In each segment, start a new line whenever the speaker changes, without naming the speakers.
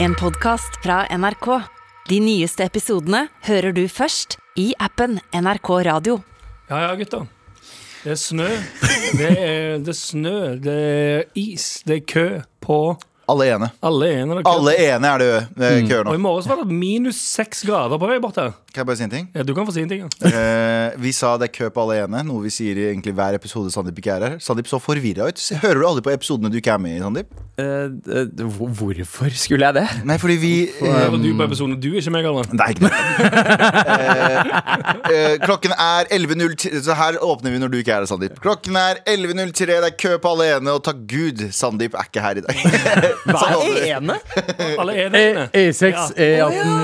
En podcast fra NRK. De nyeste episodene hører du først i appen NRK Radio.
Ja, ja, gutta. Det er snø. Det er, det er snø. Det er is. Det er kø på
Alle ene.
alle ene. Det er kø.
Alle ene er det ø, køer nå.
Og i morges var det minus seks grader på vei bort her.
Kan jeg bare si en ting?
Ja, du kan få si en ting. ja.
Eh, vi sa det er kø på alle ene, noe vi sier i egentlig hver episode Sandeep ikke er her. Sandeep så forvirra ut. Se, Hører du aldri på episodene du ikke er med i, Sandeep?
Eh, eh, hvor- hvorfor skulle jeg det?
Nei, fordi vi
Her
eh,
var du på episoden. Du er ikke meg, Galvan.
Nei, ikke det. Eh, eh, klokken er 11.03, så her åpner vi når du ikke er her, Sandeep. Klokken er 11.03, det er kø på alle ene, og takk gud, Sandeep er ikke her i dag.
Altså,
Sandeep.
ene?
Eh,
Alle er der inne.
Eh, E
E6, E18,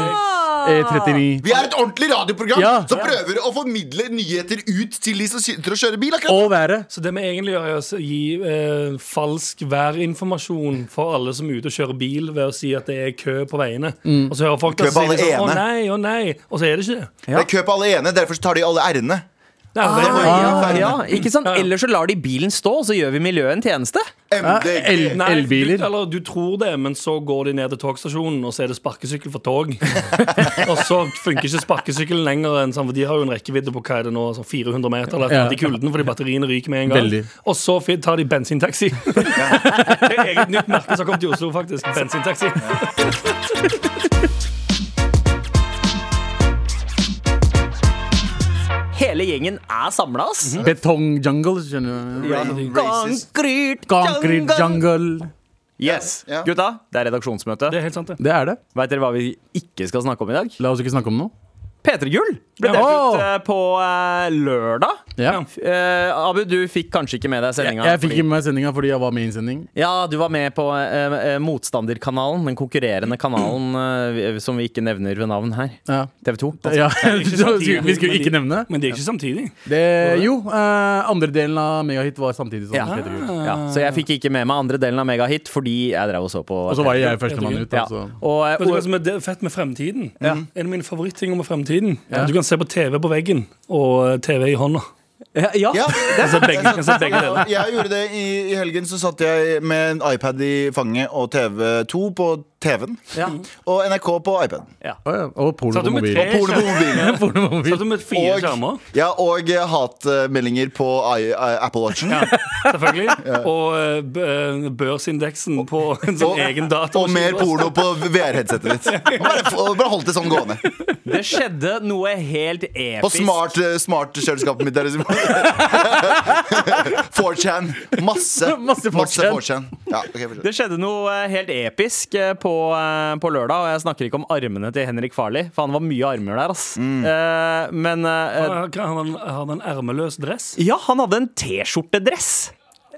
E39
Vi er et ordentlig radioprogram
Ja.
som prøver å formidle nyheter ut til de som sitter og kjører bil. akkurat
og været.
Så det vi egentlig gjør, er å s- gi eh, falsk værinformasjon for alle som er ute og kjører bil, ved å si at det er kø på veiene. Og så hører folk
Mm. Kø på
at så sier
alle
de sånn,
ene.
Å nei, å nei. Og så er det ikke det.
Det er kø på alle ene, derfor tar de alle r-ene.
Nei,
Ah.
det er-
Ja, ja, ikke sant?
Ja, ja.
Ellers så lar de bilen stå, og så gjør vi miljøet en tjeneste.
MDG.
el-
Nei,
Elbiler.
Du, eller du tror det, men så går de ned til togstasjonen, og så er det sparkesykkel for tog. og så funker ikke sparkesykkelen lenger, enn sånn, for de har jo en rekkevidde på hva er det nå, sånn 400 meter eller
Ja.
noe i kulden, fordi batteriene ryker med en gang.
Veldig.
Og så fi- tar de bensintaxi. det er eget nytt merke som kom til Oslo, faktisk. Bensintaxi.
Hele gjengen er samla, ass.
Betongjungle, skjønner du.
Racist.
Concrete
Concrete
jungle.
jungle.
Yes.
Ja.
Gutta, det er redaksjonsmøte.
Det er helt sant, det.
Det er det.
Veit dere hva vi ikke skal snakke om i dag?
La oss ikke snakke om noe.
P3 Gull ble
Ja.
delt
Åh!
ut eh, på eh, lørdag.
Ja.
Eh, Abu, du fikk kanskje ikke med deg
Jeg,
sendinga.
jeg fikk ikke med meg sendinga fordi jeg var med i en sending.
Ja, du var med på eh, eh, motstanderkanalen, den konkurrerende kanalen eh, vi- som vi ikke nevner ved navn her.
Ja.
TV 2.
Ja, så skulle- vi skulle ikke nevne
Men det er ikke samtidig.
det. Jo, eh, andre delen av Megahit var samtidig som
Ja.
Peter Gull.
Ja, så jeg fikk ikke med meg andre delen av Megahit fordi jeg drev og så på.
Og så var jeg førstemann ut.
ja.
Altså.
og, eh,
Vet du hva
og,
som er det- fett med fremtiden? En av mine favorittting med fremtiden. Du kan se på TV på veggen og TV i hånda.
ja, ja.
Ja.
Kan se begge, kan se begge deler.
Jeg gjorde det i, i helgen. Så satt jeg med en iPad i fanget og TV2 på TV-en.
Ja.
Og NRK på iPaden.
Å ja, Og porno
Satt du
på
med
mobil.
tre?
Porno på mobilen.
Porno på mobil.
Satt du med fire skjermer?
Og, ja, og eh, hatmeldinger på I, I, Apple Watchen.
Selvfølgelig. Og eh, b- eh, børsindeksen på en sånn
Og,
egen data.
og mer porno på VR-headsetet mitt. Bare, bare holdt det sånn gående.
Det skjedde noe helt
På
episk.
smart, eh, smartkjøleskapet mitt. der liksom. 4chan. Masse.
Masse 4chan.
4chan. Ja, ok, fortsett.
Det skjedde noe eh, helt episk eh, på, eh, på lørdag, og jeg snakker ikke om armene til Henrik Farley, for han var mye armer der, ass.
Mm.
Eh, men eh,
Har han, har han en ermeløs dress?
ja, han hadde en T-skjortedress.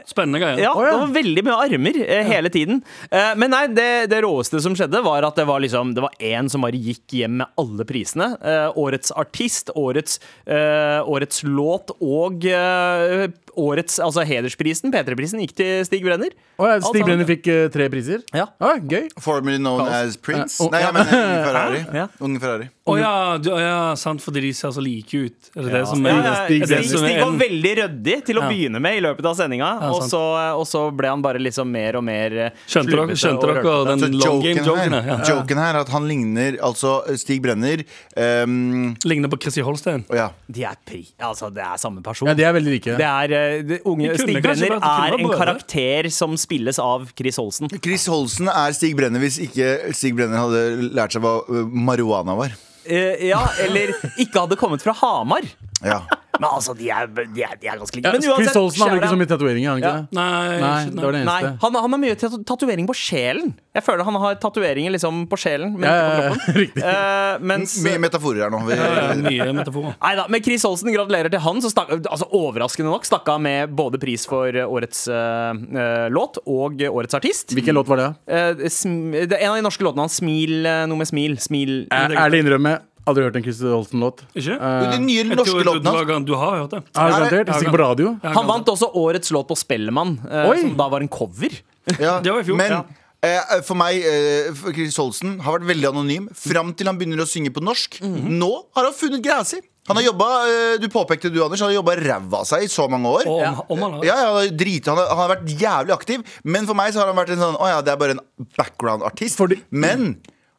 Spennende greier.
Ja,
Å, ja.
Det var veldig mye armer eh, hele tiden. Eh, men nei, det, det råeste som skjedde, var at det var liksom Det var én som bare gikk hjem med alle prisene. Eh, årets artist, årets, eh, årets låt og eh, årets Altså hedersprisen, P3-prisen, gikk til Stig Brenner.
Å ja,
Alt
Stig Brenner fikk eh, tre priser?
Ja.
Å, gøy.
Formerly known as Prince.
Eh,
oh,
og-
Nei, jeg mener Unge Ferrari.
Ja.
Unge Ferrari.
Å ja, du, å ja, sant, fordi de ser så like ut. Er det det som
Ja,
er
ja,
Stig
er
Stig,
det
Brenner.
som er
Stig var
en-
veldig ryddig til å begynne med i løpet av sendinga,
Ja,
og,
sant.
så- og så ble han bare liksom mer og mer eh,
Skjønte dere,
slurvete
skjønte
og
dere
rørte. Altså,
den
Så
long game joken?
Altså, her,
Ja.
joken her er at han ligner Altså Stig Brenner ehm,
Ligner på Chrissy Holstein.
Å ja.
De er pri... Altså, det er samme person.
Ja, de er veldig like.
Det er, eh, det, unge,
kunne
Stig
kanskje
Brenner
vært- det kunne
er
vært
en
brødre.
karakter som spilles av Chris Olsen.
Chris Holsen er Stig Brenner hvis ikke Stig Brenner hadde lært seg hva øh, marihuana var.
Eh, ja, eller ikke hadde kommet fra Hamar.
Ja.
Men altså, de er, de er, de er ganske like.
Ja,
Men uansett,
Chris Olsen hadde ikke så
shout-out.
mye tatoveringer. hadde han
Ja.
ikke det?
Nei,
Nei,
shit,
det var det
Nei,
eneste.
han, han har mye tat- tatovering på sjelen. Jeg føler han har tatoveringer liksom på sjelen, men
Ja,
ikke
ja,
på
ja,
kroppen.
riktig.
Eh, mens
Mye metaforer her nå. Vi,
Ja, Mye metaforer.
Nei da, men Chris Olsen, gratulerer til han. Så stakk, altså, overraskende nok stakk av med både pris for eh, årets eh, eh, låt og eh, årets artist.
Hvilken låt var det?
Eh, sm, det er en av de norske låtene hans. Smil, eh, noe med smil. Smil.
Er, ærlig innrømme, aldri hørt en Chris Olsen-låt.
Ikke?
Eh,
Jo, de nye
Jeg tror
norske
du, du,
låtene hans.
har- du har hørt det.
Har du garantert? Hvis ikke på radio.
Han vant også årets låt på Spellemann, eh,
Oi!
som da var en cover.
Ja.
Det var i fjor,
Men
ja.
Eh, for meg, eh, for Chris Holsten har vært veldig anonym fram til han begynner å synge på norsk.
Mhm.
Nå har han funnet greia si. Han har jobba, eh, du påpekte du, Anders, han har jobba ræva av seg i så mange år.
Og om, om han har
Ja, ja, han har drit, han, har, han har vært jævlig aktiv, men for meg så har han vært en sånn Å ja, det er bare en background-artist.
Fordi-
Men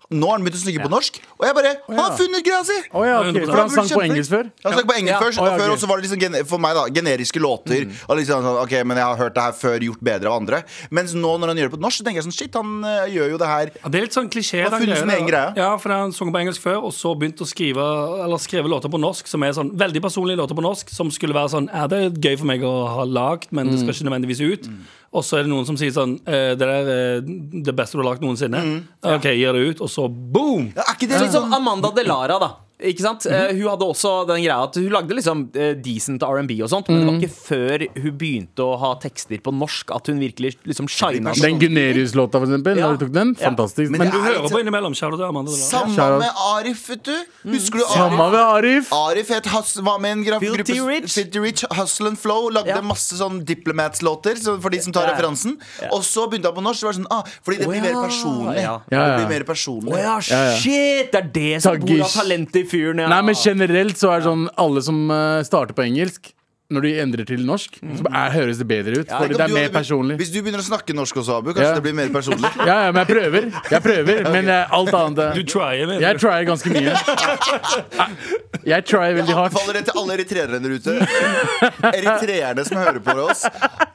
nå har han begynt å synge på norsk, og jeg bare Han har funnet greia si!
Å ja, ok, For han sang på engelsk før?
Han sang på engelsk
Ja.
først,
Å, ja,
og før
ok. Mm.
og så var det liksom gene- for meg da, generiske låter. Og liksom sånn, ok, men jeg har hørt det her før, gjort bedre av andre. Mens nå når han gjør det på norsk, så tenker jeg sånn shit, han øh, gjør jo det her.
Ja, det er litt sånn klisjé.
Han har
den
funnet sin
greia
egen
der.
greie.
Ja, for Han sang på engelsk før, og så begynte å skrive Eller skrev låter på norsk som er sånn veldig personlige låter på norsk, som skulle være sånn Ja, det er gøy for meg å ha lagd, men det skal ikke nødvendigvis ut. Og så er det noen som sier sånn eh, Det der er det beste du har lagd noensinne.
Mm.
OK, gir det ut, og så boom!
Ja, er ikke det litt
Litt
sånn
Eh, som Amanda Delara, da. Ikke sant? Eh, Hun hadde også den greia at hun lagde liksom eh, decent R&B og sånt, men det var ikke før hun begynte å ha tekster på norsk at hun virkelig liksom shina.
Sånn.
Den Gunerius-låta, for eksempel.
Ja.
Da du tok den?
Ja.
Fantastisk.
Men
Men
det
Du
er
hører
litt
på innimellom. Kjære til Amanda. Delara.
Samme
Shout out. Mm.
med Arif, vet du. Husker du Arif?
samme ved Arif.
Arif het Hus var med i en gra-
Filthy
gruppe
Rich.
Filthy Rich, Hustle and Flow. Lagde
Ja.
masse sånn Diplomats-låter så- for de som tar
Ja, ja.
referansen. Og så begynte han på norsk. Så var det sånn, ah, fordi det
Å,
blir
ja.
mer personlig.
Ja.
Ja, ja.
Det blir mer personlig.
sånn, Å ja,
Ja, ja.
shit! Det er det som bor av
Taggis.
talentet i fyren, ja.
Nei, men generelt så er det sånn alle som eh, starter på engelsk, når de endrer til norsk, så er, høres det bedre
Tenk
ut. Fordi
om
det
du
er mer
hadde begynt-
personlig.
Hvis du begynner å snakke norsk også, Abu, kanskje
Ja.
det blir mer personlig.
Ja, ja, men jeg prøver. Jeg prøver, men eh, alt annet
Du
eh,
tryer, mener
Jeg
du?
tryer ganske mye. Eh, Jeg tryer veldig hardt.
Anbefaler det til alle eritreere der ute. Eritreerne som hører på oss,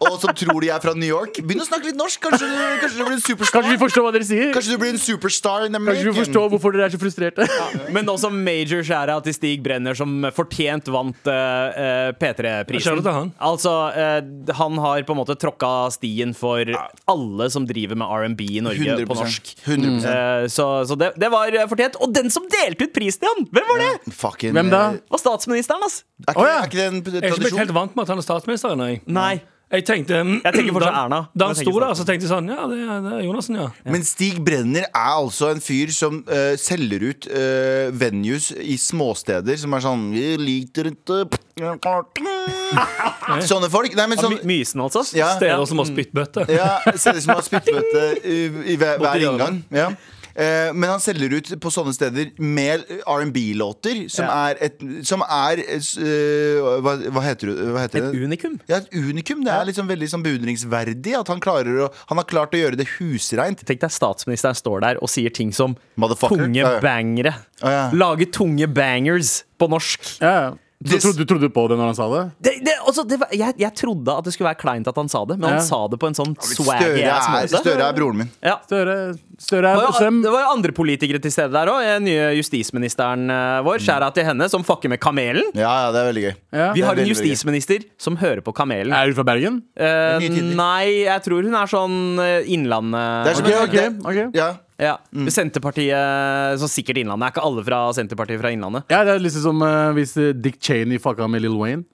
og som tror de er fra New York. Begynn å snakke litt norsk. Kanskje du, kanskje du blir en superstar.
Kanskje vi forstår hva dere sier?
Kanskje du blir en superstar in
Kanskje vi
American.
forstår hvorfor dere er så frustrerte?
Men også major shout-out til Stig Brenner, som fortjent vant eh, eh, P3-prisen.
Shout-out til han.
Altså, eh, han har på en måte tråkka stien for alle som driver med R&B i Norge
100%.
på norsk.
Mm.
100%.
Eh, så så det, det var eh, fortjent. Og den som delte ut prisen til han! Hvem var det?
Fucking,
Hvem da?
eh,
Det var statsministeren, ass.
Er ikke,
Å, ja.
er ikke det en p-
Jeg er ikke blitt helt
tradisjon?
vant med at han er statsminister ennå. jeg.
Nei.
Jeg tenkte mm,
Jeg tenker fortsatt
da-
Erna.
Da han
Jeg tenker
sto der, så
statsminister.
tenkte jeg sånn Ja, det er, det er Jonassen, ja.
Men Stig Brenner er altså en fyr som eh, selger ut eh, venues i småsteder som er sånn Vi liker ikke Sånne folk. Nei, men sånn
Mysen, altså.
ja.
Steder som har spyttbøtte.
Ja, ser ut som han har spyttbøtte i, i hver, hver
hjørnet.
inngang. Ja. Eh, men han selger ut på sånne steder med R&B-låter, som er et Som er eh, s- eh, hva, hva heter det? Hva heter
Et
det?
unikum.
Ja, et unikum. Det er liksom veldig sånn beundringsverdig at han, klarer å, han har klart å gjøre det husreint.
Tenk deg statsministeren står der og sier ting som
Motherfucker.
tunge
Ja, ja.
bangere.
Ja, ja.
Lage tunge bangers på norsk.
Ja, ja. Så
This-
trodde, trodde du på det når han sa det?
Det, det, altså, det var, jeg, jeg trodde at det skulle være kleint at han sa det, men han
Ja.
sa det på en sånn swaggy
Støre
ass
er,
måte.
Støre er broren min.
Ja.
Støre, Støre
Det
er
var,
på
jo,
strøm.
det var jo andre politikere til stede der òg. Nye justisministeren eh, vår, skjæra til henne, som fucker med Kamelen.
Mm. Ja, ja, det er veldig gøy. det er
Vi har
Ja.
en
veldig, veldig gøy.
justisminister som hører på Kamelen.
Er du fra Bergen?
Eh,
nye tider.
nei, jeg tror hun er sånn eh, Innlandet
Det er som
Ok,
en-
ok,
det-
ok.
Ja.
Ja.
Mm.
Senterpartiet, så sikkert Innlandet. Er ikke alle fra Senterpartiet fra Innlandet?
Ja, det er liksom som eh, hvis eh, Dick Cheney fucka med Lil Wayne.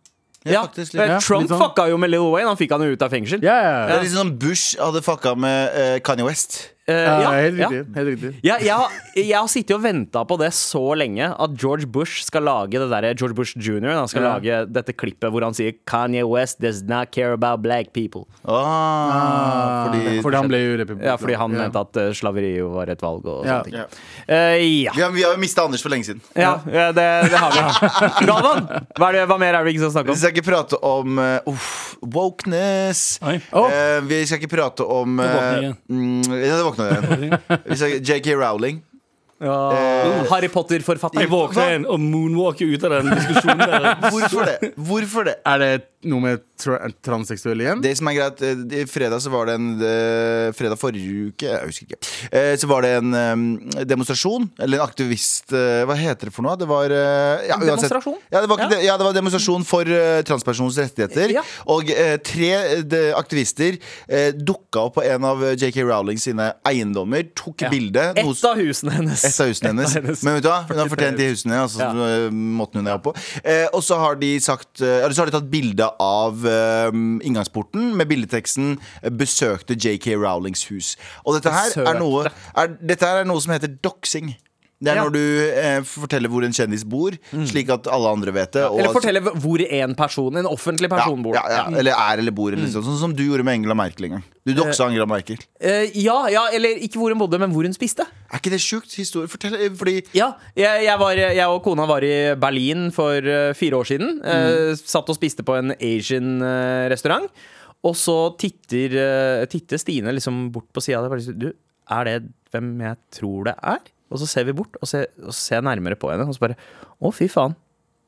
Ja,
faktisk litt.
eh,
Ja,
Trump
litt sånn.
fucka jo med Lil Wayne. Han fikk han jo ut av fengsel.
Ja, ja,
Det
ja.
er litt sånn som Bush hadde fucka med eh, Kanye West.
Eh,
ja,
ja,
helt
ja.
riktig. Helt riktig.
Ja, jeg, har, jeg har sittet og venta på det så lenge at George Bush skal lage det der, eh, George Bush jr. Han skal
Ja.
lage dette klippet hvor han sier Kanye West does not care about black people.
Ah, fordi,
Eh, Fordi han ble jo republikaner.
Ja, Fordi han mente at eh, slaveri jo var et valg og
Ja.
sånne ting.
Ja.
Eh, ja.
Vi har, vi har jo mista Anders for lenge siden.
ja, ja, det, det har vi. Galvan, hva, er det, hva mer er det vi ikke skal snakke
Vi
om?
skal ikke prate om eh, uff, wokeness.
Nei.
Åh.
Eh, vi skal ikke prate om
våkner jeg
eh, mm, Ja, det våkna igjen. Vi skal- JK Rowling.
Ja. Harry
Jeg
Potter-forfatter.
våkna igjen og moonwalker ut av den diskusjonen der.
Hvorfor det? Hvorfor det?
Er det noe med tra transseksuell igjen?
Det som er greit, eh, i fredag så var det en eh, Fredag forrige uke, jeg husker ikke. eh, Så var det en eh, demonstrasjon, eller en aktivist eh, Hva heter det for noe? Det var eh, ja, uansett.
Demonstrasjon?
Ja, det var, ikke,
Ja.
det- ja, det var demonstrasjon for eh, transpersoners rettigheter.
Ja.
Og eh, tre eh, de, aktivister eh, dukka opp på en av eh, JK Rowling sine eiendommer, tok
Ja.
bilde. noe
Et av husene hennes.
et av husene hennes. Men vet du hva? Hun har fortjent de husene. Altså,
Ja.
så, øh, Måten hun er på. Eh, og så har de sagt eh, Eller så har de tatt bilde av eh, inngangsporten med bildeteksten eh, 'Besøkte JK Rowlings hus'. Og dette her er noe er, Dette her er noe som heter doxing. Det er
Ja. Mm.
når du eh, forteller hvor en kjendis bor, slik at alle andre vet det. og
Eller
at-
fortelle hvor en person, en offentlig person, bor. Mm.
ja, ja, ja. Eller er eller bor, eller sånn, sånn som du gjorde med Angela Merkel en gang. Du doksa Angela Merkel.
Eh, ja, ja, eller ikke hvor hun bodde, men hvor hun spiste.
Er ikke det sjukt? Historie? Fortell, eh, fordi
Ja, jeg, jeg, var, jeg og kona var i Berlin for eh, fire år siden. eh, satt og spiste på en Asian-restaurant. Og så titter, eh, titter Stine liksom bort på sida av det. Du, er det hvem jeg tror det er? Og så ser vi bort, og, ser- og så ser jeg nærmere på henne, og så bare Å, fy faen.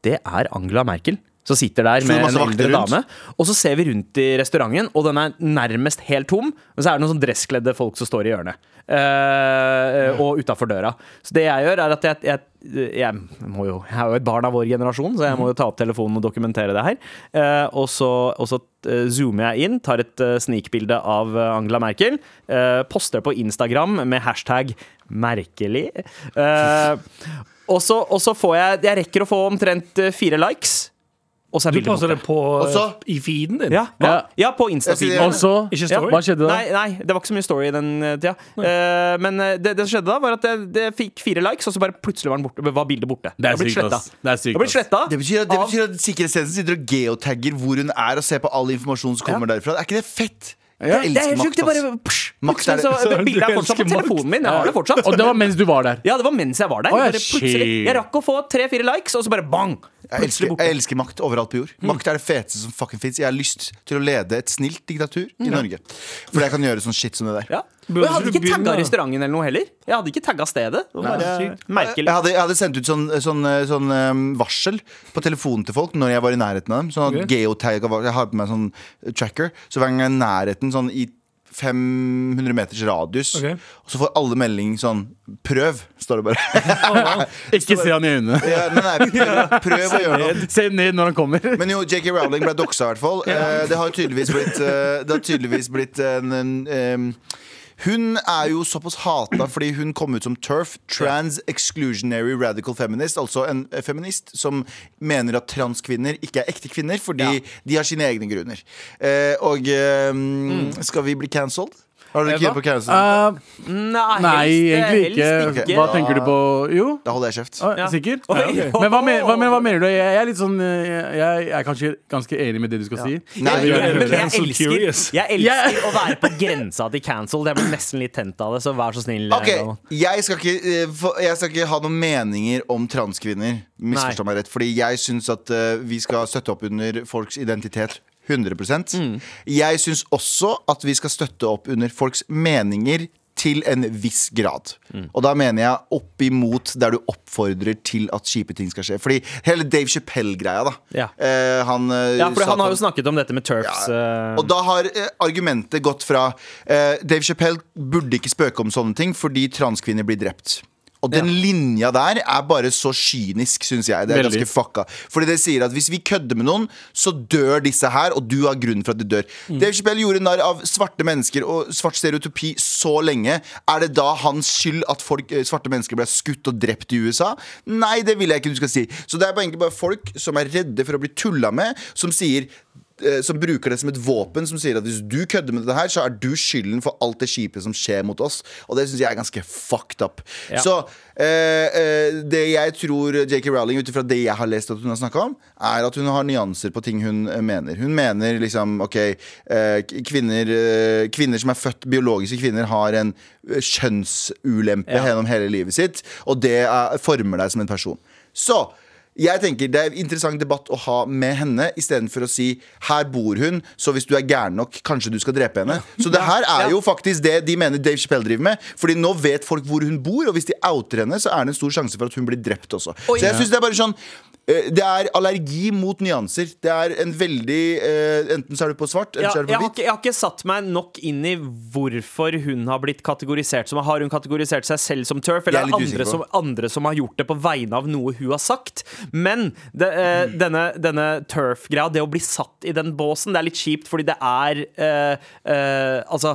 Det er Angela Merkel. Så sitter der
det
med
masse
en
vakter
eldre
rundt?
dame. Og så ser vi rundt i restauranten, og den er nærmest helt tom. Men så er det noen sånn dresskledde folk som står i hjørnet. eh, og utafor døra. Så det jeg gjør, er at jeg, jeg, jeg må jo Jeg er jo et barn av vår generasjon, så jeg må jo ta opp telefonen og dokumentere det her. Eh, og så, og så eh, zoomer jeg inn, tar et eh, snikbilde av eh, Angela Merkel. eh, poster på Instagram med hashtag 'merkelig'. Eh, og så, og så får jeg Jeg rekker å få omtrent eh, fire likes. Og så er
Du
bildet borte.
passer det på eh,
så-
i feeden din.
Ja, hva?
Ja.
ja på Insta-siden.
Og så
Ikke story.
Hva skjedde da?
Nei, nei, det var ikke så mye story i den eh, tida. Eh, men eh, det, det som skjedde da, var at det, det fikk fire likes, og så bare plutselig var, den borte, var bildet borte.
Det er
Jeg ble
sykt,
sletta.
ass. Det er sykt,
Jeg ble
ass.
sletta
det betyr, at, det
av-
betyr at sikkerhetstjenesten sitter og geotagger hvor hun er, og ser på all informasjon som kommer derfra. Er ikke det fett?
Ja.
Jeg
Det er
elsker
helt sjukt.
makt,
Det bare
ass.
psh,
Makt er-
plutselig så,
så-
Bildet
du
er fortsatt på
elsker makt.
telefonen min. Jeg har det fortsatt.
Og det var mens du var der.
Ja, det var mens jeg var der.
Å, ja,
Bare plutselig,
shit.
jeg rakk å få tre-fire likes, og så bare bang!
Jeg
Plutselig
elsker,
borte. Mm.
jeg elsker makt overalt på jord. Makt er det feteste som fucking fins. Jeg har lyst til å lede et snilt diktatur i Norge. Fordi jeg kan gjøre sånn shit som det der.
Mm, Ja. Og
Burde
jeg hadde
du
ikke tagga
begynne?
restauranten eller noe heller. Jeg hadde ikke tagga stedet. Det var
Nei,
bare
sykt.
Jeg
merkelig.
hadde, jeg hadde sendt ut sånn, sånn, sånn ehm, varsel på telefonen til folk når jeg var i nærheten av dem. Sånn
Ok.
okay. Jeg har på meg sånn tracker. Så hver gang jeg er i nærheten, sånn i 500 meters radius,
Ok.
og så får alle melding sånn Prøv, står det bare.
Ikke se han i øynene.
ja, men nei, prøv, prøv å gjøre noe.
Se ned når han kommer.
Men jo, J.K. Rowling ble doksa i hvert fall. Eh, Det har jo tydeligvis blitt, eh, det har tydeligvis blitt en, en em, hun er jo såpass hata fordi hun kom ut som TERF, Trans Exclusionary Radical Feminist. Altså en eh, feminist som mener at transkvinner ikke er ekte kvinner fordi de har sine egne grunner. Eh, og em, skal vi bli cancelled? Har dere
Mm. Eh, hva?
ikke på cancel?
Eh,
Nei,
nei,
helst- eh,
egentlig
helst
ikke. Hva tenker du på? Jo?
Da holder jeg kjeft.
Ah,
Ja.
Sikker?
Oi,
Ja, ok.
jo.
Men hva, mener, hva, men hva mener du? Jeg, jeg er litt sånn eh, Jeg, jeg er kanskje ganske enig med det du skal si.
Nei,
er
vi gjør
jo
det.
Men jeg
Cancel
elsker,
curious.
jeg
Jeg-
elsker å være på grensa til cancel. Jeg blir nesten litt tent av det, så vær så snill.
Ok,
Galvan.
jeg skal, ikke, eh, få- jeg skal ikke ha noen meninger om transkvinner. Misforstå meg rett. Fordi jeg syns at eh, vi skal støtte opp under folks identitet. 100
Mm.
Jeg syns også at vi skal støtte opp under folks meninger til en viss grad.
Mm.
Og da mener jeg oppimot der du oppfordrer til at kjipe ting skal skje. Fordi hele Dave Chappelle-greia, da.
Ja.
Eh, han, eh,
Ja, for
sa at
han har
han-
jo snakket om dette med turfs. eh,
og da har eh, argumentet gått fra eh, Dave Chappelle burde ikke spøke om sånne ting fordi transkvinner blir drept. Og den linja der er bare så kynisk, syns jeg. Det er
Veldig.
ganske fucka. Fordi det sier at hvis vi kødder med noen, så dør disse her, og du har grunnen for at de dør. Dave Chappelle gjorde narr av svarte mennesker og svart stereotypi så lenge. Er det da hans skyld at folk, eh, svarte mennesker ble skutt og drept i USA? Nei, det vil jeg ikke du skal si. Så det er bare egentlig bare folk som er redde for å bli tulla med, som sier eh, som bruker det som et våpen, som sier at hvis du kødder med dette her, så er du skylden for alt det kjipe som skjer mot oss. Og det syns jeg er ganske fucked up. Så eh, eh, det jeg tror J.K. Rowling, ut ifra det jeg har lest at hun har snakka om, er at hun har nyanser på ting hun eh, mener. Hun mener liksom OK, eh, k- kvinner, eh, kvinner som er født biologiske kvinner, har en eh, kjønnsulempe gjennom hele livet sitt, og det er, former deg som en person. Så jeg tenker Det er en interessant debatt å ha med henne, istedenfor å si her bor hun, så hvis du er gæren nok, kanskje du skal drepe henne. Så det her er jo faktisk det de mener Dave Chappelle driver med. Fordi nå vet folk hvor hun bor, og hvis de outer henne, så er det en stor sjanse for at hun blir drept også. Så jeg synes det er bare sånn eh, det er allergi mot nyanser. Det er en veldig eh, Enten så er du på svart, eller
Ja,
så er
jeg,
du på
har
hvitt.
ikke, jeg har ikke satt meg nok inn i hvorfor hun har blitt kategorisert som Har hun kategorisert seg selv som turf,
Jeg er
eller er
litt
det
usikker
andre
på.
som, andre som har gjort det på vegne av noe hun har sagt? Men det, eh,
Mm.
denne, denne turf-greia, det å bli satt i den båsen, det er litt kjipt, fordi det er eh, eh, Altså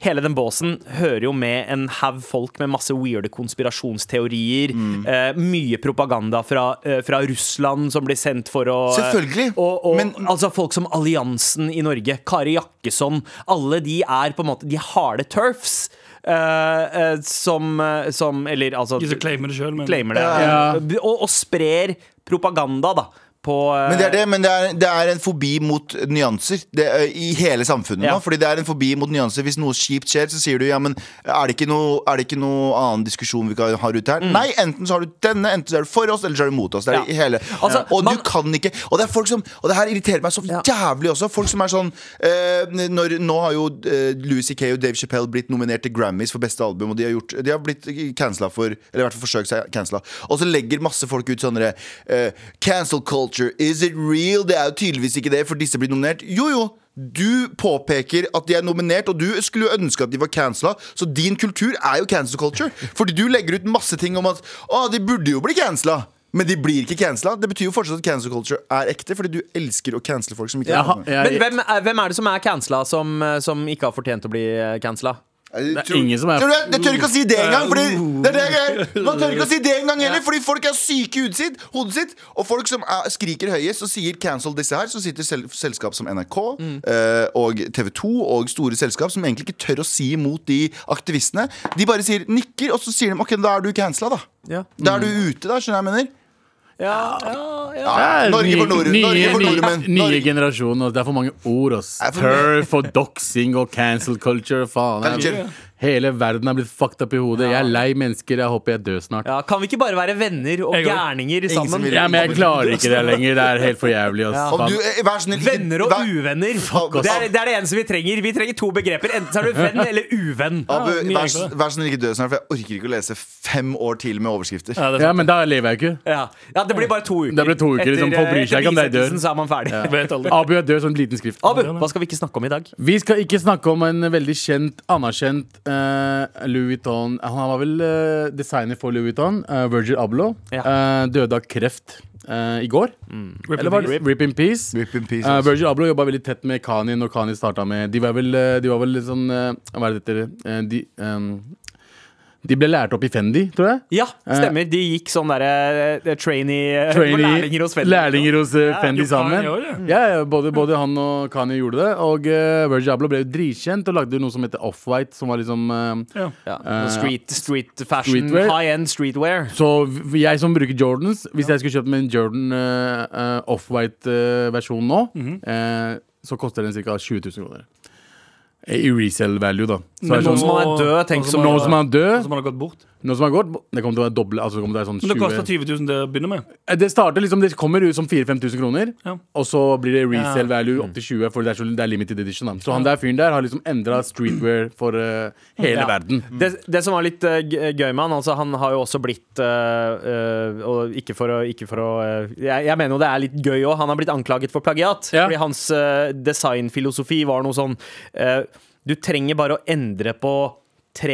Hele den båsen hører jo med en haug folk med masse weirde konspirasjonsteorier.
Mm.
Eh, mye propaganda fra, eh, fra Russland som blir sendt for å eh,
Selvfølgelig,
Og, og,
men-
Altså Folk som Alliansen i Norge, Kari Jakkesson, alle de er på en måte De harde turfs. eh, eh, som, eh, som Eller altså
De som claimer det sjøl, men
claimer det.
Ja.
Eh, Og, og sprer propaganda, da. På, eh,
Men det er det, men det er, det er en fobi mot nyanser det, ø, i hele samfunnet
Ja.
nå. Fordi det er en fobi mot nyanser. Hvis noe kjipt skjer, så sier du ja, men er det ikke noe, er det ikke noe annen diskusjon vi kan ha ute her? Nei, enten så har du denne, enten så er du for oss, eller så er du mot oss. Det er
Mm. Ja.
i hele.
Altså,
og
man-
du kan ikke Og det er folk som Og det her irriterer meg så
Ja.
jævlig også. Folk som er sånn eh, når, Nå har jo eh, Louis C.K. og Dave Chappelle blitt nominert til Grammys for beste album, og de har, gjort, de har blitt cancela for Eller i hvert fall forsøkt seg cancela. Og så legger masse folk ut sånne eh, Cancel culture, is it real? Det er jo tydeligvis ikke det, for disse blir nominert. Jo, jo! Du påpeker at de er nominert, og du skulle jo ønske at de var cancela. Så din kultur er jo cancel culture. Fordi du legger ut masse ting om at Å, de burde jo bli cancela. Men de blir ikke cancela. Det betyr jo fortsatt at cancel culture er ekte, fordi du elsker å cancele folk som ikke
Jeg,
er
har-
med.
jeg,
Men hvem er, hvem er det som er cancela, som, eh, som ikke har fortjent å bli eh, cancela?
Jeg
er ingen som er-
Tror du det? Jeg tør ikke å si det engang! Fordi det er det jeg er. Man tør ikke å si det engang heller, fordi folk er syke i hodet sitt. Hodet sitt. Og folk som er, skriker høyest og sier 'cancel disse her', så sitter sel selskap som NRK
Mm.
eh, og TV 2 og store selskap som egentlig ikke tør å si imot de aktivistene. De bare sier, nikker, og så sier de 'ok, da er du cancela', da.
Ja.
Da er du ute, da. Skjønner du hva jeg mener?
Ja, ja, ja.
Ja,
Norge for
nye-
nord- Norge for
nye-
nordmenn.
Nye, nye
Norge-
generasjon. ass. Det er for mange ord. ass.
Det er for
Turf og doxing og cancel culture. Faen. jeg-
Culture.
Hele verden er blitt fucked up i hodet. Jeg er lei mennesker. Jeg håper jeg dør snart.
Ja, kan vi ikke bare være venner og
Jeg går.
gærninger
som
sammen?
vil-
Ja, men jeg klarer ikke det lenger. Det er helt for jævlig. ass.
Om
Faen.
du, eh, vær så snill, ikke-
Venner og
vær-
uvenner.
Fuck altså. oss.
Det er, det er det eneste vi trenger. Vi trenger to begreper. Enten så er du venn eller uvenn.
Abu,
mye
vær,
enklere.
vær så snill ikke dø snart, for jeg orker ikke å lese fem år til med overskrifter.
Ja, det er
Ja,
sant.
men da lever jeg ikke.
Ja. ja, det blir bare to uker.
Det blir to uker, liksom. Folk bryr seg ikke om deg dør.
bisettelsen så er man ferdig.
Jeg vet aldri.
Abu er død som en liten skrift.
Abu, hva skal vi ikke snakke om i dag?
Vi skal ikke snakke om en veldig kjent, anerkjent eh, Louis Vuitton Han var vel eh, designer for Louis Vuitton, eh, Virgil Abloh.
Ja. Mm.
Eh, døde av kreft eh, i går.
Rip
Eller
in
var
peace.
det Rip in Peace?
Rip in peace,
Eh,
altså.
Virgil Abloh jobba veldig tett med Kani når Kani starta med De var vel, eh, de var vel litt sånn eh, Hva er det dette eh, de, ehm, de ble lært opp i Fendi, tror jeg.
Ja, stemmer. De gikk sånn derre eh, trainee,
Trainee,
Lærlinger hos Fedder.
lærlinger hos, eh, Fendi
jo, Kanye
sammen.
også, det.
Ja, ja, både, både han og Kanye gjorde det. Og eh, Virgil Abloh ble jo dritkjent og lagde jo noe som heter Offwhite, som var liksom eh,
Ja.
Ja. Street, street fashion,
Streetwear.
high end streetwear.
Så v- jeg som bruker Jordans Hvis jeg skulle kjøpt meg en Jordan eh, eh, Off-White eh, versjon nå eh, Så koster den ca. 20 000 kroner I resell value da Så
Men
det er
nå
sånn,
som han er død, tenk
nå
som-
han-
Noen som er
nå
død,
som han har gått bort.
noen som er gått Det kommer til å være doble altså, det, kommer til å være sånn
Men det koster
20
20 000 til å begynne med.
Eh, det starter liksom, det kommer ut som 4-5 tusen kroner
Ja.
Og så blir det resell
Ja.
value opp til 20 For det er, så, det er limited edition da Så han der fyren der har liksom endret streetwear for eh, hele
Ja.
verden
Det, det som var litt eh, g- gøy med han, altså han har jo også blitt eh, eh, og ikke for å, ikke for å eh, jeg, jeg mener jo det er litt gøy òg. Han har blitt anklaget for plagiat.
Ja.
Fordi hans eh, designfilosofi var noe sånn eh, Du trenger bare å endre på 3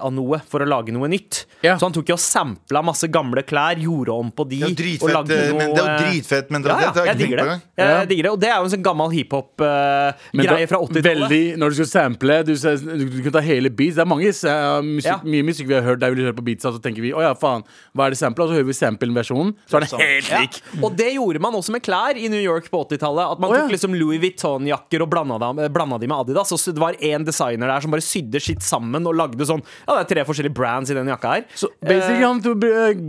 av noe for å lage noe nytt.
Ja.
Så han tok jo og sampla masse gamle klær, gjorde om på de.
Det er jo dritfett, eh, men, det er jo
eh,
dritfett
ja,
mentalitet.
ja,
det har jeg
jeg
ikke
digger
tenkt på
det.
engang.
Jeg,
Ja.
digger det. Og det er jo en sånn gammel
Men
hiphop-greie
da-
fra 80-tallet.
veldig- Når du skal sample, du, ser- du, du kan ta hele beats. Det er mange eh, musikk,
Ja.
mye musikk vi har hørt der vi hører på beats, og så tenker vi å ja, faen, hva er det samplet? Og så hører vi sample-versjonen, så er det helt lik.
Sånn. Og det gjorde man også med klær i New York på 80-tallet. At man
Å, ja.
tok liksom Louis Vuitton-jakker og blanda dem- eh, blanda de med Adidas. Og så det var én designer der som bare sydde skitt sammen og lagde sånn Ja, det er tre forskjellige brands i den jakka her.
Så
Eh,
basically han tok eh,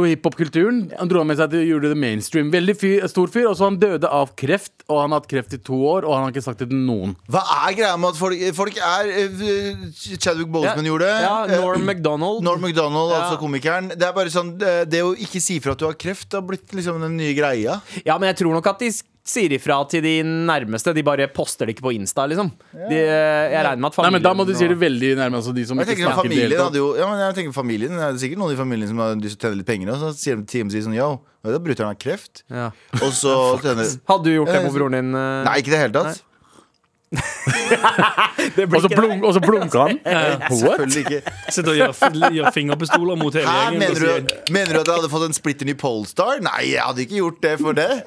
getto-hiphop-kulturen. Han dro med seg til gjorde det mainstream. Veldig fyr, stor fyr. Og så han døde av kreft, og han har hatt kreft i to år, og han har ikke sagt det til noen.
Hva er greia med at folk, folk er eh, Chadwick Boseman gjorde det.
ja,
eh,
Norm MacDonald.
Norm MacDonald,
Ja.
altså komikeren. Det er bare sånn, eh, det å ikke si fra at du har kreft, har blitt liksom den nye greia.
Ja, men jeg tror nok at de s- sier ifra til de nærmeste. De bare poster det ikke på Insta, liksom. De, eh, jeg regner med at
Nei,
familien
men Da må du si det veldig nærme. Altså, de som
Jeg
ikke
tenker,
snakker det hele
familien
tatt.
hadde jo, ja, men jeg tenker familien, Det er sikkert noen i familien som har lyst til å tjene litt penger. Og så sier de til TMZ sånn Yo, da bruker han har kreft.
Ja.
Og så tjener
Hadde du gjort det
Ja,
på broren din? eh?
Nei, ikke i det hele tatt.
det blir
Og
ikke
så
det.
blunk- og så blunka han. Eh, What?
Selvfølgelig ikke.
Sitter og gjør, gjør fingerpistoler mot hele
Hæ,
gjengen. og
mener du,
sier-
mener du at jeg hadde fått en splitter ny Polestar? Nei, jeg hadde ikke gjort det for det.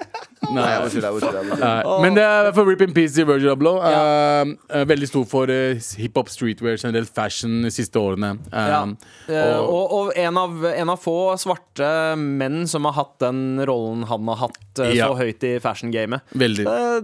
Nei, jeg bare tuller, jeg bare tuller, jeg bare tuller.
Nei, altså. Eh, Men det er for Rip in Peace til Virgil Abloh. Um, er veldig stor for eh, hiphop, streetwear, generelt fashion de siste årene. Um,
Ja. Eh,
og-
og og en, av, en av få svarte menn som har hatt den rollen han har hatt eh,
Ja.
så høyt i fashion-gamet.
Veldig.
Eh,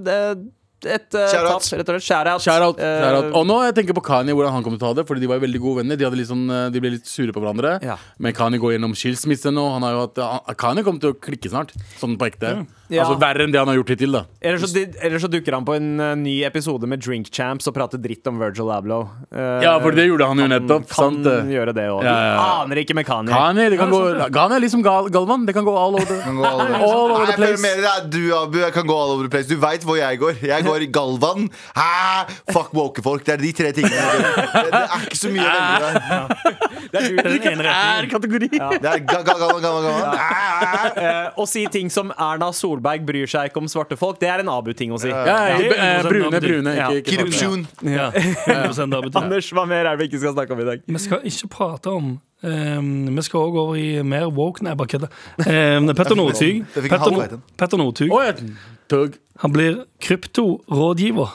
Det, det, et eh,
Shout
tap,
out.
rett og slett. Eh, Shout-out.
Shoutout, shoutout. Og nå jeg tenker på Kanye, hvordan han kommer til å ta det. Fordi de var jo veldig gode venner. De, hadde litt sånn, eh, de ble litt sure på hverandre.
Ja.
Men Kanye går gjennom skilsmisse nå. Han har jo hatt, eh, han- Kanye kommer til å klikke snart. Sånn på ekte.
Ja.
Altså Verre enn det han har gjort hittil. da
Eller så, eller så dukker han på en eh, ny episode med Drink Champs og prater dritt om Virgil Abloh. Eh,
Ja, for det gjorde han jo nettopp.
Kan
sant det?
gjøre det òg.
Ja, ja, ja.
Aner ikke med Kanye.
Kanye, det kan gå, Kanye er liksom gal, Galvan. Det kan gå all over.
Kan gå all over.
All over
Nei,
the
jeg føler
place.
mer det er du, Abu. Jeg kan gå all over the place. Du veit hvor jeg går. Jeg går i Galvan. Hæ? Fuck woke-folk. Det er de tre tingene. jeg gjør. Det, det er ikke så mye å velge der.
Det er den ene retningen.
kategori.
Det er ga- ga- Galvan, Galvan, Galvan. Hæ?
Eh, å si ting som Erna Solberg bryr seg ikke om svarte folk, det er en Abu-ting å si.
Ja, ja,
Det er
eh, brune,
100%
brune.
Ja.
Ikke, sånn. ikke svarte.
Kirupsjon.
Ja, 100% arbeid.
Anders, hva mer er det vi ikke skal snakke om i dag?
Vi skal ikke prate om ehm, Vi skal òg over i mer woke Nei, bare kødda. Ehm, Petter Northug
Det fikk jeg
Petter,
halvveis inn.
Petter Northug
Å, jeg- Tug.
Han blir kryptorådgiver.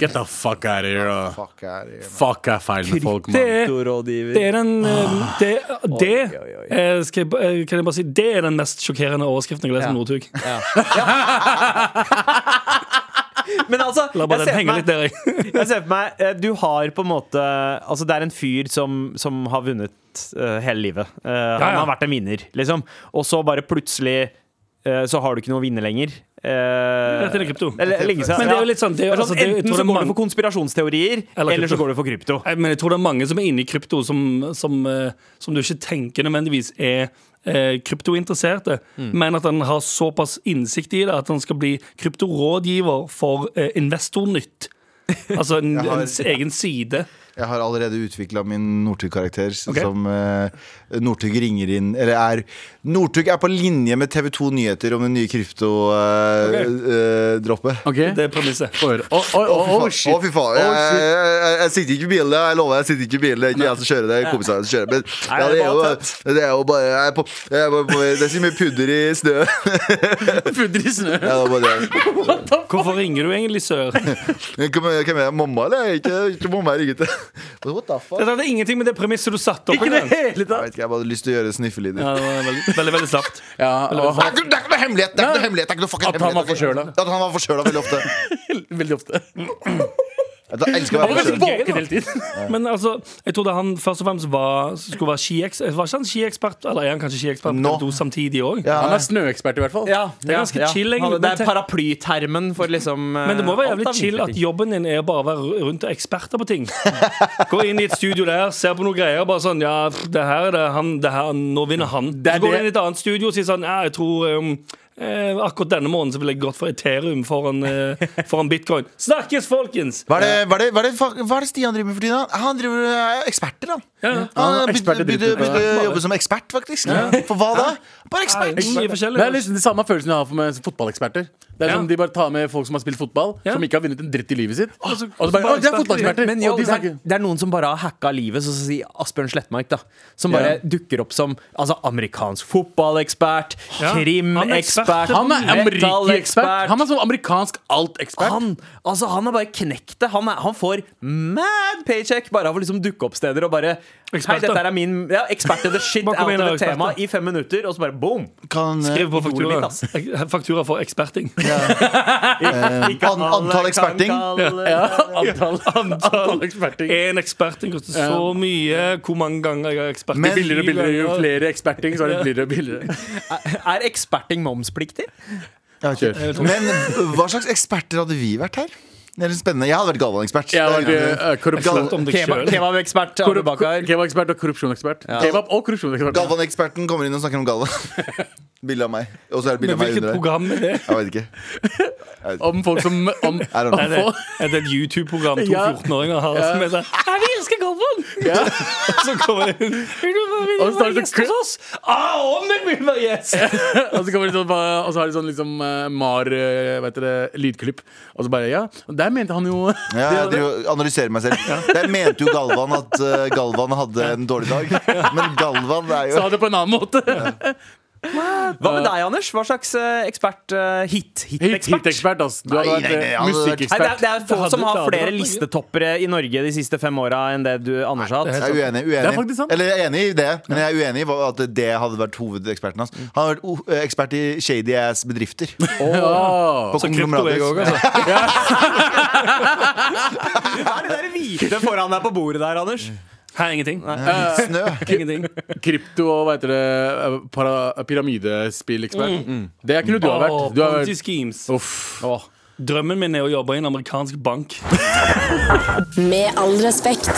Get the fuck out of here. da.
Fuck, jeg er i-
Fuck er feil med folk, mann.
er- Det
Kulturrådgiver.
er den ehm, Det, det
Ah. oi, oi.
eh, skal jeg, ba- eh, Kan jeg bare si Det er den mest sjokkerende overskriften jeg leser om Northug.
Men altså,
La bare den
jeg ser,
henge
for
litt
meg,
der, jeg.
jeg ser for meg eh, Du har på en måte Altså, det er en fyr som, som har vunnet eh, hele livet. Eh, Han
ja.
har vært en vinner, liksom. Og så bare plutselig eh, så har du ikke noe å vinne lenger. Eh,
Dette er krypto.
eller, lenge siden,
Men det er jo
ja.
litt sånn, det er jo-
Sånn,
altså, det er jo- jeg
Enten
tror det
så
er
går
mange-
du for konspirasjonsteorier,
Eller
eller så
krypto.
går du for krypto.
Nei, Men jeg tror det er mange som er inne i krypto, som, som, eh, som du ikke tenker nødvendigvis er eh, kryptointeresserte,
Mm.
men at han har såpass innsikt i det at han skal bli kryptorådgiver for eh, Investornytt. Altså en,
har-
en s- egen side.
Jeg har allerede utvikla min Northug-karakter s-
Ok.
som eh, Northug ringer inn Eller er Northug er på linje med TV 2 Nyheter om det nye eh, krypto-droppet.
Ok?
Det er premisset.
Å, å, å,
Å, fy
å,
faen. Å,
shit.
fy faen. Jeg, jeg, jeg, jeg sitter ikke i bilen. Jeg lover, jeg sitter ikke i bilen. Det er ikke jeg som kjører. Det er kompisene som kjører. Men ja, det, er jo, det er jo bare jeg er på, jeg er på, på, Det er så mye pudder i snø.
Pudder i snø.
Ja, det var bare det.
Hvorfor ringer du egentlig Sør? Dette
Hvem er- hvem er jeg? Mamma, eller? Ikke, ikke mamma jeg ringer til. What the fuck?
hadde ingenting med det premisset du satte opp i den.
Jeg vet ikke, jeg bare hadde lyst til å gjøre sniffelyder.
Ja, det var veldig, veldig, veldig slapt.
Ja, og
Det er
han,
ikke det er ikke noe hemmelighet! Det er ikke noe
Nei.
hemmelighet, det er ikke noe fucking
At han var
hemmelighet.
forkjøla.
At han var forkjøla veldig ofte.
veldig ofte.
Jeg elsker å være
Det er
forkjøla.
veldig gøy, da. Men altså, jeg trodde han først og fremst var, skulle være skiekspert. Var ikke han skiekspert? Eller er han kanskje skiekspert på
Nå.
TV2 samtidig òg?
Ja,
Han er snøekspert, i hvert fall.
Ja,
Det er ganske chill, egentlig.
Det er paraplytermen for liksom
Men det må være jævlig chill at jobben din er bare å være rundt og eksperter på ting. Gå inn i et studio der, ser på noen greier, bare sånn Ja, pff, det her er det han, det her, nå vinner han.
er
Så går du
det-
inn i et annet studio og sier sånn Ja, jeg tror um, eh, akkurat denne måneden så ville jeg gått for Ethereum foran, eh, foran bitcoin. Snakkes, folkens!
Hva er, det, hva, er det, hva, er det, fa- hva er det Stian driver med for tiden? da? Han driver er eksperter, han.
Ja,
Han
er ekspert i
begynte-
dritten.
begynte- begynte å jobbe som ekspert, faktisk. For hva da? Bare ekspert.
Mye
Det er
forskjellig. altså.
liksom det samme følelsen jeg har for med fotballeksperter. Det er
Ja.
som De bare tar med folk som har spilt fotball,
Ja.
som ikke har vunnet en dritt i livet sitt. Og så
så-
bare, «Å, de er fotballeksperter
men jo,
Og de
det, er,
snakker
det er noen som bare har hacka livet, sånn som si Asbjørn Slettmark, da. Som bare dukker opp som altså, amerikansk fotballekspert,
Ja, han er ekspert.
krimekspert,
Han er
metallekspert.
amerikekspert. Han er sånn amerikansk alt-ekspert.
Han, altså, han er bare knekt det. Han, er- han får mad paycheck bare av å liksom dukke opp steder og bare Hei,
Eksperter.
dette er min ja, ekspert i the shit
Bare
out
kom
of
igjen,
the
da, eksperter.
tema i fem minutter, og så bare boom!
Kan, eh,
Skriv på
Idolet mitt,
faktura.
ass.
Ek- Faktura for eksperting.
Ikke
an-
alle
antall
kan
eksperting?
kalle-
Antall, antall eksperting.
Én eksperting koster så mye. Hvor mange ganger jeg er ekspert?
Men-
Billigere og billigere. Jo flere eksperting, så er det billigere og billigere.
Er eksperting momspliktig?
Kjør.
Men eh, hva slags eksperter hadde vi vært her? Det er litt spennende. Jeg hadde vært Galvan-ekspert.
Jeg har vært
Det er-
eh, korrupsjon.
Om deg
Kebab-
selv.
Kebabekspert Abu
Korrup-
Bakar.
Kebabekspert og korrupsjonekspert. Kebab og korrupsjonekspert.
Galvan-eksperten kommer inn og snakker om Galvan. Bilde av meg. Og så er det bilde
Men
av meg
hvilket
under her.
program er det?
Jeg vet ikke.
Om folk som om,
I don't
om
Er det,
folk,
er det et YouTube-program to
Ja.
14-åringer har som er sånn «Nei, Vi elsker Galvan!
Ja.
Så kommer det inn Vil du vil du
Og så
være
starter
gjest hos oss? Ah, om jeg vil være gjest!
Og så kommer det sånn bare- Og så har de sånn liksom eh, Mar eh, vet dere, lydklipp. Og så bare Ja, der mente han jo
Ja, jeg driver og analyserer meg selv. Der mente jo Galvan at eh, Galvan hadde en dårlig dag. Men Galvan er jo
Sa det på en annen måte.
Hva med deg, Anders? Hva slags eh, ekspert? eh, hit-
Hit-
Hit-ekspert? Hit,
Hit-ekspert, ass. Du
Nei,
hadde vært
nei, nei,
eh,
jeg hadde vært-
Nei, altså, det, er,
musikkekspert.
det er folk
Det hadde-
som har
det hadde
flere
vært mye.
listetoppere i Norge de siste fem åra enn det du, Anders, har hatt.
Jeg er uenig. uenig.
Det er faktisk sant.
Eller jeg er enig i det, men jeg er uenig i hva- at det hadde vært hovedeksperten hans. Han har vært o- eh, ekspert i shady ass bedrifter.
Åh.
På
Så krypto jeg òg,
konglomerater.
altså.
Hva er det der hvite foran deg på bordet der, Anders?
Her er ingenting.
Snø.
Ingenting.
Krypto og hva heter det eh, para-
Mm,
pyramidespillekspert. Det kunne du ha vært.
Å,
Du har
Ponzi
vært
schemes.
Uff.
Drømmen min er å jobbe i en amerikansk bank.
Med all respekt.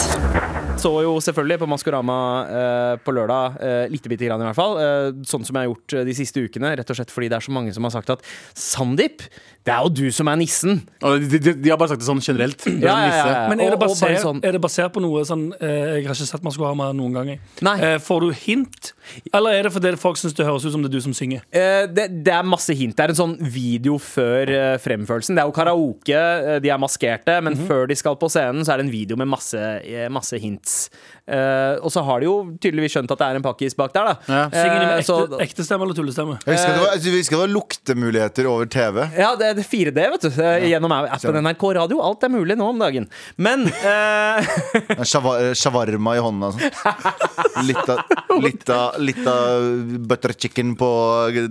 Så jo selvfølgelig på Maskorama eh, på lørdag, eh, lite bitte grann i hvert fall. Eh, sånn som jeg har gjort eh, de siste ukene, rett og slett fordi det er så mange som har sagt at Sandeep, det er jo du som er nissen.
Og De, de, de har bare sagt det sånn generelt. Du er en nisse.
Men er det,
Og- og bare
basert,
sånn-
er det basert på noe sånn eh, Jeg har ikke sett Maskorama noen gang. jeg.
Nei.
Eh, får du hint, eller er det fordi folk syns det høres ut som det er du som synger?
Eh, det, det er masse hint. Det er en sånn video før eh, fremførelsen. Det er jo karaoke, eh, de er maskerte, men
Mhm.
før de skal på scenen, så er det en video med masse, eh, masse hints. Eh, og så har de jo tydeligvis skjønt at det er en pakkis bak der, da.
Ja.
Eh,
Synger de med ekte,
så-
ekte stemme eller tullestemme?
Eh,
Jeg husker at det var, jeg husker det var luktemuligheter over TV.
Ja, det er 4D, vet du. eh, Gjennom appen NRK Radio. Alt er mulig nå om dagen. Men eh,
Shava- Shawarma i hånda og sånn. Litt av- Litt av- litt av butter chicken på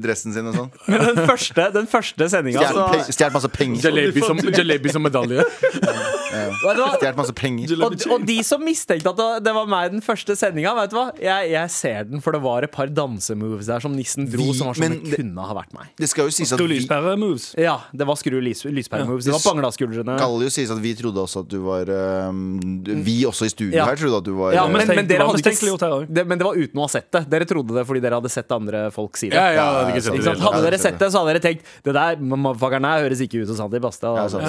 dressen sin og sånn.
men den første, den første sendinga
Stjålet
så-
altså-
pe- Stjålet masse penger.
Jalebi som, jalebi som medalje.
Vet du hva?
Stjålet masse penger.
Og, og de som mistenkte at det- det var meg den første sendinga, vet du hva? Jeg, jeg ser den, for det var et par dansemoves der som nissen dro,
Vi-
som var som
men
det
det-
kunne ha vært meg.
Det skal jo sies at
Du
vi,
lyspære-moves.
Ja, det var skru lys, lyspæremoves. Det
Ja.
var banglaskuldrene.
skal jo sies at vi trodde også at du var um, du- Vi også i studio
Mm. Ja.
her trodde at du var eh,
Ja, men,
mistenkt-
men, dere
det var
hadde ikke,
mistenkeliggjort her også.
s- det, men det var uten å ha sett det. Dere trodde det fordi dere hadde sett andre folk si det.
Ja, ja, hadde ikke sett
Ikke
det.
sant? Hadde
Ja,
dere
det
sett det, så hadde dere tenkt Det der motherfuckeren her høres ikke ut som Sandeep Basta.
Ja, sant.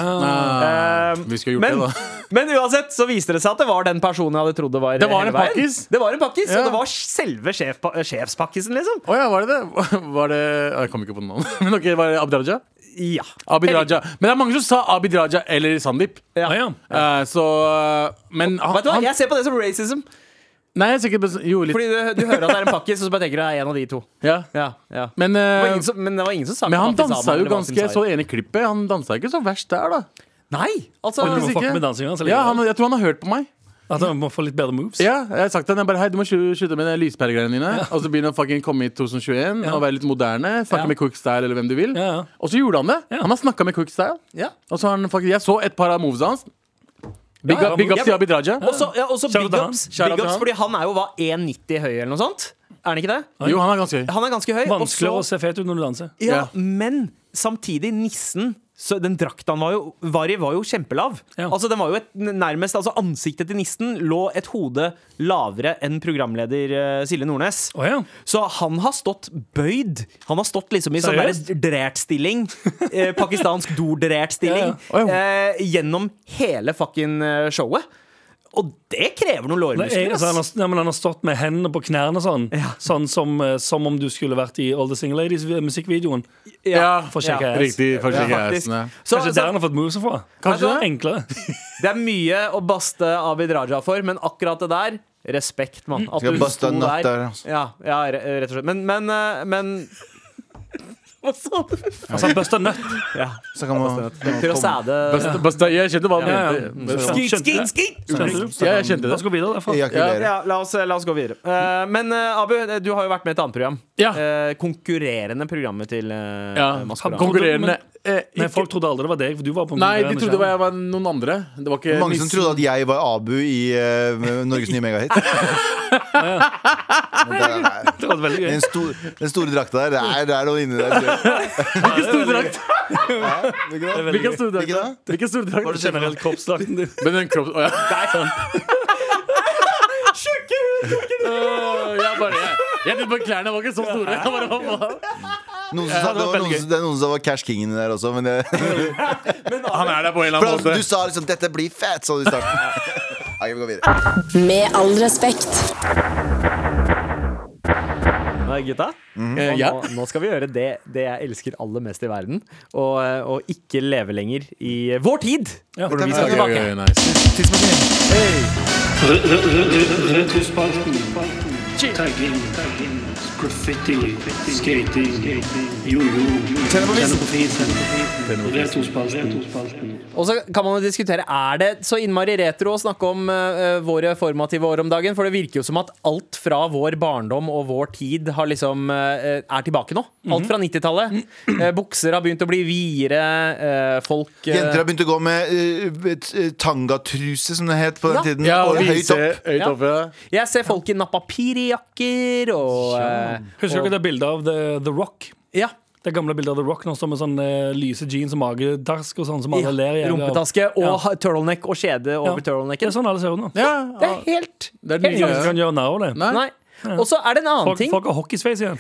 Ah,
Eh,
Vi skulle gjort
men,
det, da.
men uansett så viste det seg at det var den personen jeg hadde trodd det var.
Det var
hele
en
veien.
pakkis.
Det var en pakkis,
Ja.
og det var selve sjef, sjefspakkisen, liksom.
Å ja, var det det? Var det Jeg kom ikke på navnet. Men ok, var det Abid Raja?
Ja.
Abid Raja. Men det er mange som sa Abid Raja eller Sandeep.
Ja.
Ah, ja.
Eh, så Men han,
Vet du hva,
han
Jeg ser på det som racism.
Nei, jeg er sikker på Jo, litt.
Fordi du, du hører at det er en pakkis, og så bare tenker du det er en av de to.
ja.
Ja, ja. Men,
Men, eh,
det var ingen som, men det var ingen som sa
men han
pakkis
dansa
Aman,
jo
eller hva som
ganske Jeg
sa.
så ene klippet. Han dansa ikke så verst der, da.
Nei! Altså,
Oi,
Hvis
fucke
ikke-
med dansingen hans, eller?
Ja, han, jeg tror han har hørt på meg.
At han må få litt bedre moves?
Ja, jeg har sagt til han, jeg bare, hei, du må slu- slutte med de lyspæregreiene dine. Og så begynner han fucking komme i 2021 og være litt moderne. Snakke
Ja.
med Quickstyle eller hvem du vil.
Ja, ja.
Og så gjorde han det.
Ja.
Han har snakka med Quickstyle.
ja.
Og så har han faktisk, jeg så et par av movesa hans.
Ja,
Big,
ja,
up, big
moves.
ups til Abid Raja.
Og så ja, og så
Shout out
big
til han.
ups,
Shout
big
out til
ups
han.
fordi han er jo hva, 1,90 høy eller noe sånt? Er han ikke det?
Jo, han er ganske høy.
Han er ganske høy. og
Vanskeligere
så-
å se fet ut når du danser.
Ja,
Ja.
men samtidig nissen så den drakta han var, jo, var i, var jo kjempelav.
Ja.
Altså, den var jo et, nærmest, altså Ansiktet til nissen lå et hode lavere enn programleder eh, Silje Nordnes.
Å ja.
Så han har stått bøyd. Han har stått liksom i sånn
Seriøst?
der drerstilling. Eh, pakistansk do-drerstilling.
Ja, ja. Oi.
Eh, gjennom hele fucking eh, showet. Og det krever noen
Nei, jeg,
lårmuskler.
altså, han,
ass.
har, ja, men han har stått med hendene på knærne sånn. Sånn som, eh, som om du skulle vært i All the Single Ladies-musikkvideoen.
Ja,
For å sjekke ass.
Riktig. For
Ja,
ja,
faktisk. Så,
Kanskje der
så,
han har fått movesa fra?
Kanskje det?
Enklere.
det er mye å baste Abid Raja for, men akkurat det der Respekt, mann. At
Skal
du
baste
sto
en natt der,
der.
altså.
Ja, ja, re- rett og slett. Men, men, eh, men Hva sa du?
Altså, han busta nøtt.
Ja,
Så kan man
til å sæde
Basta, basta, jeg skjønte hva han
Ja, ja.
mente.
Så-
Skit,
Skjønte
skit,
det.
skit!
Skjønte du?
Ja, jeg
La
skjønte det.
oss gå videre derfra.
ejakulere.
Ja, la, oss, la oss gå videre. Eh, men eh, Abu, eh, du har jo vært med i et annet program.
Ja.
Eh, konkurrerende programmet til uh,
Ja,
Maskorama.
konkurrerende. Eh,
Nei,
ikke-
folk trodde aldri det var deg, for du var på
Nei, de
konkurrerende
trodde det var-
skjerm.
jeg var noen andre. Det var ikke
Mange som
Miss-
trodde at jeg var Abu i eh, Norges nye megahit. Men det er-
Det var veldig gøy.
Den, stor, den store drakta der, det er, det er noe inni der. tror jeg.
Hvilken stordrakt!
Ikke det?
Hvilken stordrakt?
Ikke det?
Hvilken stordrakt?
Var det generelt kroppsdrakten din?
Men den kropp... Å, ja. Sånn. Åh, jeg bare Jeg, jeg tenkte på klærne var ikke så store. Jeg bare, hva faen?
Noen som sa, det, var noen, som- det er noen som var Cash Kingen der også. Men det,
Han er der på en eller
for
annen
altså,
måte.
du sa liksom 'dette blir fett', sa du i starten. Ok, vi går videre.
Med all respekt.
Nei, gutta,
Eh, ja.
nå, nå skal vi gjøre det, det jeg elsker aller mest i verden. Og, eh, og ikke leve lenger i vår tid!
Ja.
Vi
skal
skal
tilbake.
tilbake.
Tidsmaskinen.
shit!
Tagging, tagging, graffiti, skating, jojo, tennerpåfisen. Det er tospalten.
Og så kan man jo diskutere Er det så innmari retro å snakke om eh, våre formative år om dagen? For det virker jo som at alt fra vår barndom og vår tid har liksom, eh, er tilbake nå. Alt fra 90-tallet. Eh, bukser har begynt å bli videre. eh, folk eh,
Jenter har begynt å gå med eh, et, eh, tangatruse, som det het på den
Ja.
tiden.
Ja, og
og høyt
vise
opp.
høyt
Ja.
oppe.
Jeg ser folk i napapiri-jakker og eh,
Husker dere det bildet av The, The Rock?
Ja.
Det gamle bildet av The Rock når han står med sånn eh, lyse jeans og magetask og sånn, som alle ler jævlig av.
Rumpetaske og
Ja.
ha- turtleneck og kjede
Ja.
over
Det
turtlenecken.
er sånn alle ser ut nå.
Ja, ah,
Det er helt
det er den
Ingen
nye.
kan gjøre narr av det.
Nei.
Nei. Og så er det en annen
Folk,
ting.
folk har hockeysveis igjen.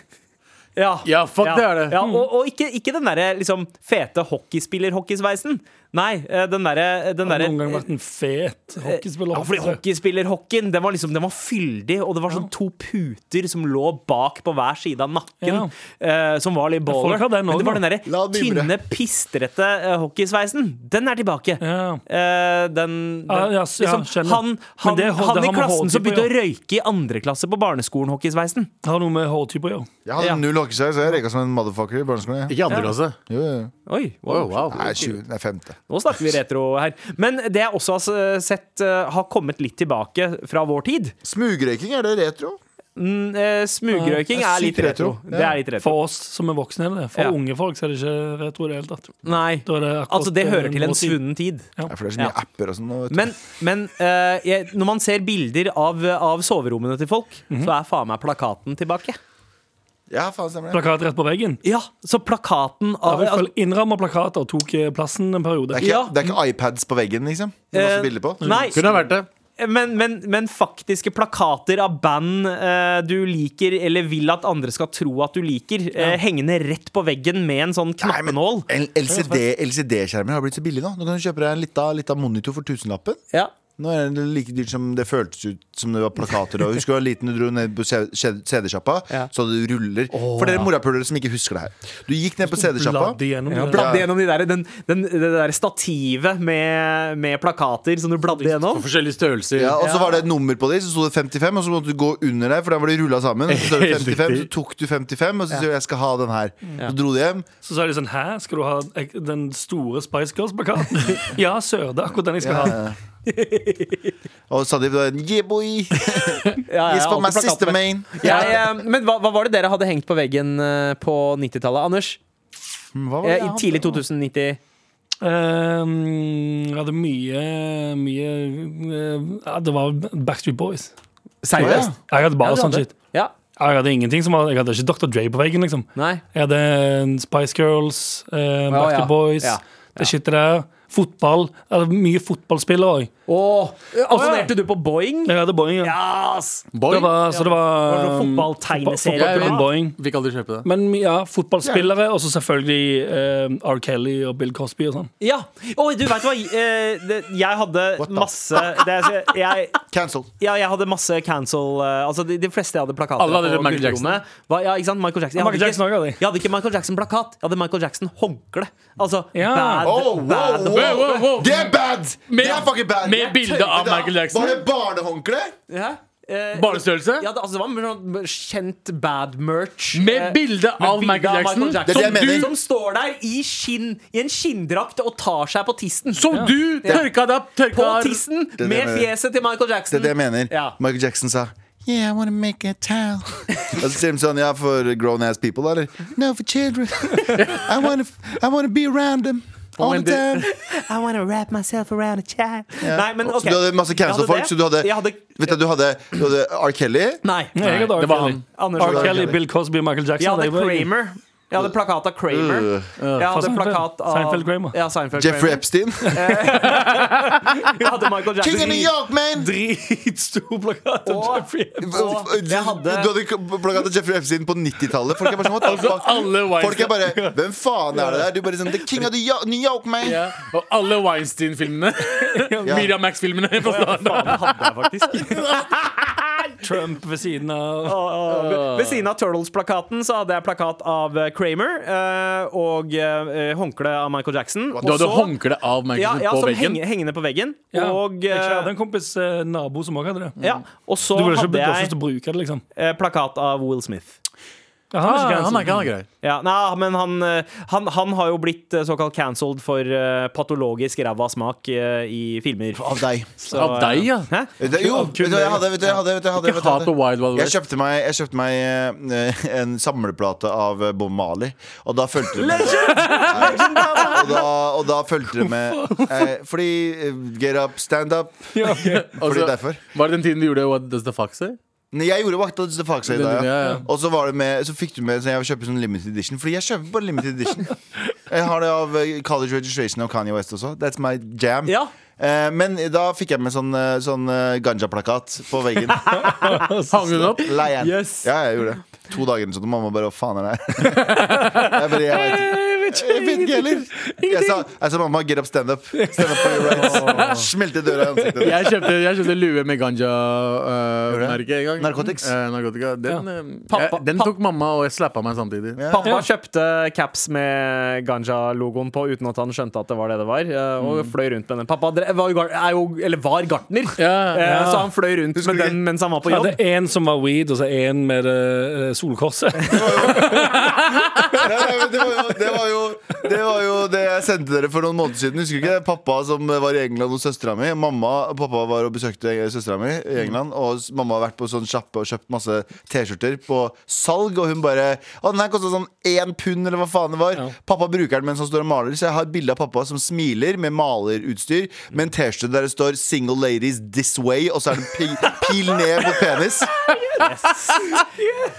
Ja.
Ja, fuck, det er det.
Ja, og og ikke, ikke den derre liksom, fete hockeyspiller-hockeysveisen. Nei, eh, den derre den
Har
derre-
noen gang vært en fet hockeyspiller?
Eh, ja, fordi hockeyspiller-hockeyen Den var liksom, den var fyldig, og det var sånn to puter som lå bak på hver side av nakken. eh, som var litt baller.
folk har den
Men det
også,
var den derre
La den vibre.
tynne, pistrete eh, hockeysveisen. Den er tilbake.
Ja. Ah,
Eh, den, den liksom,
Ja, ja, s- ja, skjønner.
Han,
Men
han,
det- det
han i
har med
klassen
HT
som
på,
begynte å
ja.
røyke i andre klasse på barneskolen, hockeysveisen.
Har noe med hårtype å gjøre.
Jeg hadde
Ja.
null hockeyskjær, så jeg røyka som en motherfucker i barneskolen. jeg.
Ikke andre klasse.
Jo, jo.
Oi, wow.
Oh,
Oh,
Wow, wow.
Nei, 20. Nei, femte.
Nå snakker vi retro her. Men det jeg også har s- sett eh, har kommet litt tilbake fra vår tid.
Smugrøyking, er det retro?
Mm, eh, Smugrøyking
Ja,
er litt
sykt
retro.
retro.
Det er litt retro.
For oss som er voksne, er det det. For
Ja.
unge folk så er det ikke retro i det hele tatt.
Nei.
Da er det akkurat,
Altså, det hører
eh,
til en
vår tid.
svunnen tid.
Nei, for det er så mye
Ja.
apper og sånn. nå, vet du.
Men, men eh, jeg, når man ser bilder av, av soverommene til folk, så er faen meg plakaten tilbake.
Ja, faen, stemmer det.
Plakat rett på veggen.
Ja, så plakaten
Ja,
av altså,
i hvert fall Innramma plakater tok eh, plassen en periode.
Det er, ikke,
Ja.
det er ikke iPads på veggen, liksom?
eh,
Masse bilder på.
Nei, eh,
Kunne ha vært det.
men, men, men faktiske plakater av band eh, du liker, eller vil at andre skal tro at du liker, eh, hengende rett på veggen med en sånn
Nei, men
knappenål.
L- LCD LCD-skjermer har blitt så billig nå. Nå kan du kjøpe deg en lita, lita monitor for tusenlappen.
Ja.
Nå er det like dyrt som det føltes ut som det var plakater. Og husker du da liten du dro ned på C- C- CD-sjappa,
Ja.
så hadde du ruller. For dere morapulere som ikke husker det her. Du gikk ned på CD-sjappa.
Bladd igjennom
Ja,
det.
bladde gjennom de der, den, den, det der stativet med, med plakater som du bladde gjennom.
Forskjellige størrelser.
Ja, og så var det et nummer på dem, så sto det 55, og så måtte du gå under der, for der var de rulla sammen. Og så, står det
Helt
55, så
riktig.
tok du 55, og så sa du 'jeg skal ha den her'. Så dro du hjem.
Så sa de sånn Hæ, skal du ha ek- den store Spice Girls-plakaten? ja, sør, det er akkurat den jeg skal ha.
Og Sandeep var en yeah boy.
Ja, ja,
Yes for
alltid
my
plakater.
sister main.
Jeg, eh, men hva, hva var det dere hadde hengt på veggen eh, på 90-tallet, Anders?
Hva var det
Eh,
jeg
I
hadde?
tidlig 2090.
Um, jeg hadde mye, mye eh, ja, Det var Backstreet Boys.
Seriøst?
Jeg hadde bare
Ja, du
sånn
hadde.
shit.
Ja.
Jeg hadde ingenting som var, Jeg hadde ikke Dr. Dre på veggen, liksom.
Nei.
Jeg hadde eh, Spice Girls, eh, Backstreet
ja.
Boys,
Ja.
det shitet der. Fotball. Jeg hadde mye fotballspillere òg.
Åh, Abonnerte du på Boeing?
Jeg hadde Boeing. Ja.
Yes!
Boy.
Det var, så det var
det var
um,
fotballtegneserie.
fotball- fotballklubben
Ja, ja.
Boeing.
Fikk aldri kjøpe det.
Men ja, fotballspillere, og så selvfølgelig eh, R. Kelly og Bill Cosby og sånn.
Ja. Oi, du veit hva? eh, det- Jeg hadde
What the-
masse det, jeg- jeg,
Cancelled.
ja, jeg hadde masse cancel eh, Altså De, de fleste jeg hadde plakater
Alle hadde
på
Michael
gulvrommet, var- Ja, ikke sant? Michael Jackson. Jeg
Michael
hadde
Jackson
ikke,
også hadde jeg.
jeg hadde ikke Michael Jackson-plakat. Jeg hadde Michael Jackson-håndkle. Altså
Ja.
bad,
Oh, wow,
bad
wow.
Wow, wow, wow.
Det er bad! det er fucking bad!
med bilde av Michael Jackson.
Var det barnehåndkle?
Hæ? Eh,
Barnestørrelse?
Ja, det, altså, det var sånn kjent bad merch.
Med
Eh,
bilde
med
av
bilde
Michael Jackson,
Det er det jeg mener.
Som står der i, skinn, i en skinndrakt og tar seg på tissen.
som du tørka deg tørka
på tissen
er det
med
jeg mener.
fjeset til Michael Jackson.
Det er det jeg mener.
Ja.
Michael Jackson sa Yeah, I wanna make a towel. Og så sier de sånn, ja, for grown ass people, eller? No, for children. I wanna, I wanna be around them. All
when
the time.
I wanna wrap myself around a child. Nei, men ok
Så du hadde masse
Jeg
cancel-folk,
hadde
så du hadde,
det. Jeg hadde
Vet du, du hadde, du hadde R. Kelly.
Nei.
Jeg hadde R.
det var
Kelly.
han.
Anders
R.
hadde
R.
Kelly,
Kelly.
Bill Cosby, Michael Jackson.
Jeg hadde
det var-
Kramer. Jeg hadde plakat av Kramer.
Øh.
Jeg hadde
Seinfeld.
plakat av
Seinfeld Kramer.
Ja, Seinfeld
Jeffrey
Kramer.
Epstein.
Jeg hadde
King
Michael
of New
Jackson.
York, man!
Dritstor plakat av
Og-
Jeffrey Epstein.
Og jeg hadde
Du hadde plakket Jeffrey Epstein på 90-tallet. Folk er bare sånn, what the fuck?
Alle
Folk er
Weinstein,
bare Hvem faen er det der? Du bare sånn The King of the Yo- New York, man!
ja. Og alle Weinstein-filmene. Mira Max-filmene. på
Faen,
stedet.
det hadde jeg faktisk.
Trump ved siden av
Og- og ved- Ved siden av Turtles-plakaten så hadde jeg plakat av eh, Kramer eh, og eh, håndkle av Michael Jackson.
Du hadde
Og så-
håndkle av Michael
ja, ja,
på
som
veggen.
henge- hengende på veggen.
ja.
Og,
Jeg
eh,
hadde en kompis eh, nabo som også hadde det.
ja, og så
Du burde ikke
hadde
blitt
jeg
til å bruke det, liksom.
eh, plakat av Will Smith.
Ja, han er
Ah,
ikke
han er
cancelled.
ikke han er grei.
Ja, nei, men han, eh, han, han har jo blitt eh, såkalt cancelled for eh, patologisk ræva smak eh, i filmer.
Av deg.
Så, eh,
Av deg, ja.
Hæ?
Det, jo, vet du, hva jeg hadde, vet du, jeg hadde, vet du, jeg hadde,
Ikke
vet du, jeg
hat
hadde.
og Wild Wild
Jeg
West.
kjøpte meg, jeg kjøpte meg eh, en samleplate av eh, Bob Marley, og da fulgte det med Nei, og, da, og da fulgte det med eh, Fordi eh, Get up, stand up.
Ja, ok.
Fordi
Altså,
derfor.
Var det den tiden du gjorde What Does The Fuck Say?
Nei, jeg gjorde Vakta til Fagsøy da,
Den-
ja.
ja, ja.
Og så, var det med, så fikk du med Så jeg kjøpte sånn limited edition. Fordi jeg kjøper bare limited edition. Jeg har det av eh, College Registration og Kanye West også. That's my jam.
Ja.
Eh, men da fikk jeg med sånn, eh, sånn eh, ganja-plakat på veggen.
Hang hun opp?
Leien.
Yes.
Ja, jeg gjorde det. To dager eller sånn, og mamma bare 'hva faen er det her?' Jeg bare, jeg vet ikke. Jeg vet ikke heller. Jeg sa, jeg sa 'mamma, get up, stand up'. Stand up for your rights. Smelte døra i ansiktet.
Jeg kjøpte, jeg kjøpte lue med ganja-merke en gang.
Narcotics.
Eh, narkotika. Den, eh,
Pappa-
jeg, den tok mamma, og jeg slappa meg samtidig.
Ja.
Pappa kjøpte caps med ganja-logoen på uten at han skjønte at det var det det var. eh, Og
Mm.
fløy rundt med den. Pappa dre- var, jo gar- er jo, eller var gartner,
Ja,
eh,
ja.
så han fløy rundt med den mens han var på
Jeg
jobb.
hadde én som var weed, og så én med det, eh, solkorset.
Nei, nei, men det, var jo, det, var jo, det var jo det jeg sendte dere for noen måneder siden. Husker du ikke det? Pappa som var i England hos søstera mi. Mamma og pappa var og besøkte søstera mi i England. Og s- mamma har vært på sånn sjappe og kjøpt masse T-skjorter på salg. Og hun bare Å, den her kosta sånn én pund, eller hva faen det var. Pappa bruker den mens han står og maler, så jeg har et bilde av pappa som smiler med malerutstyr, med en T-skjorte der det står 'Single Ladies This Way', og så er det en pil, pil ned mot penis.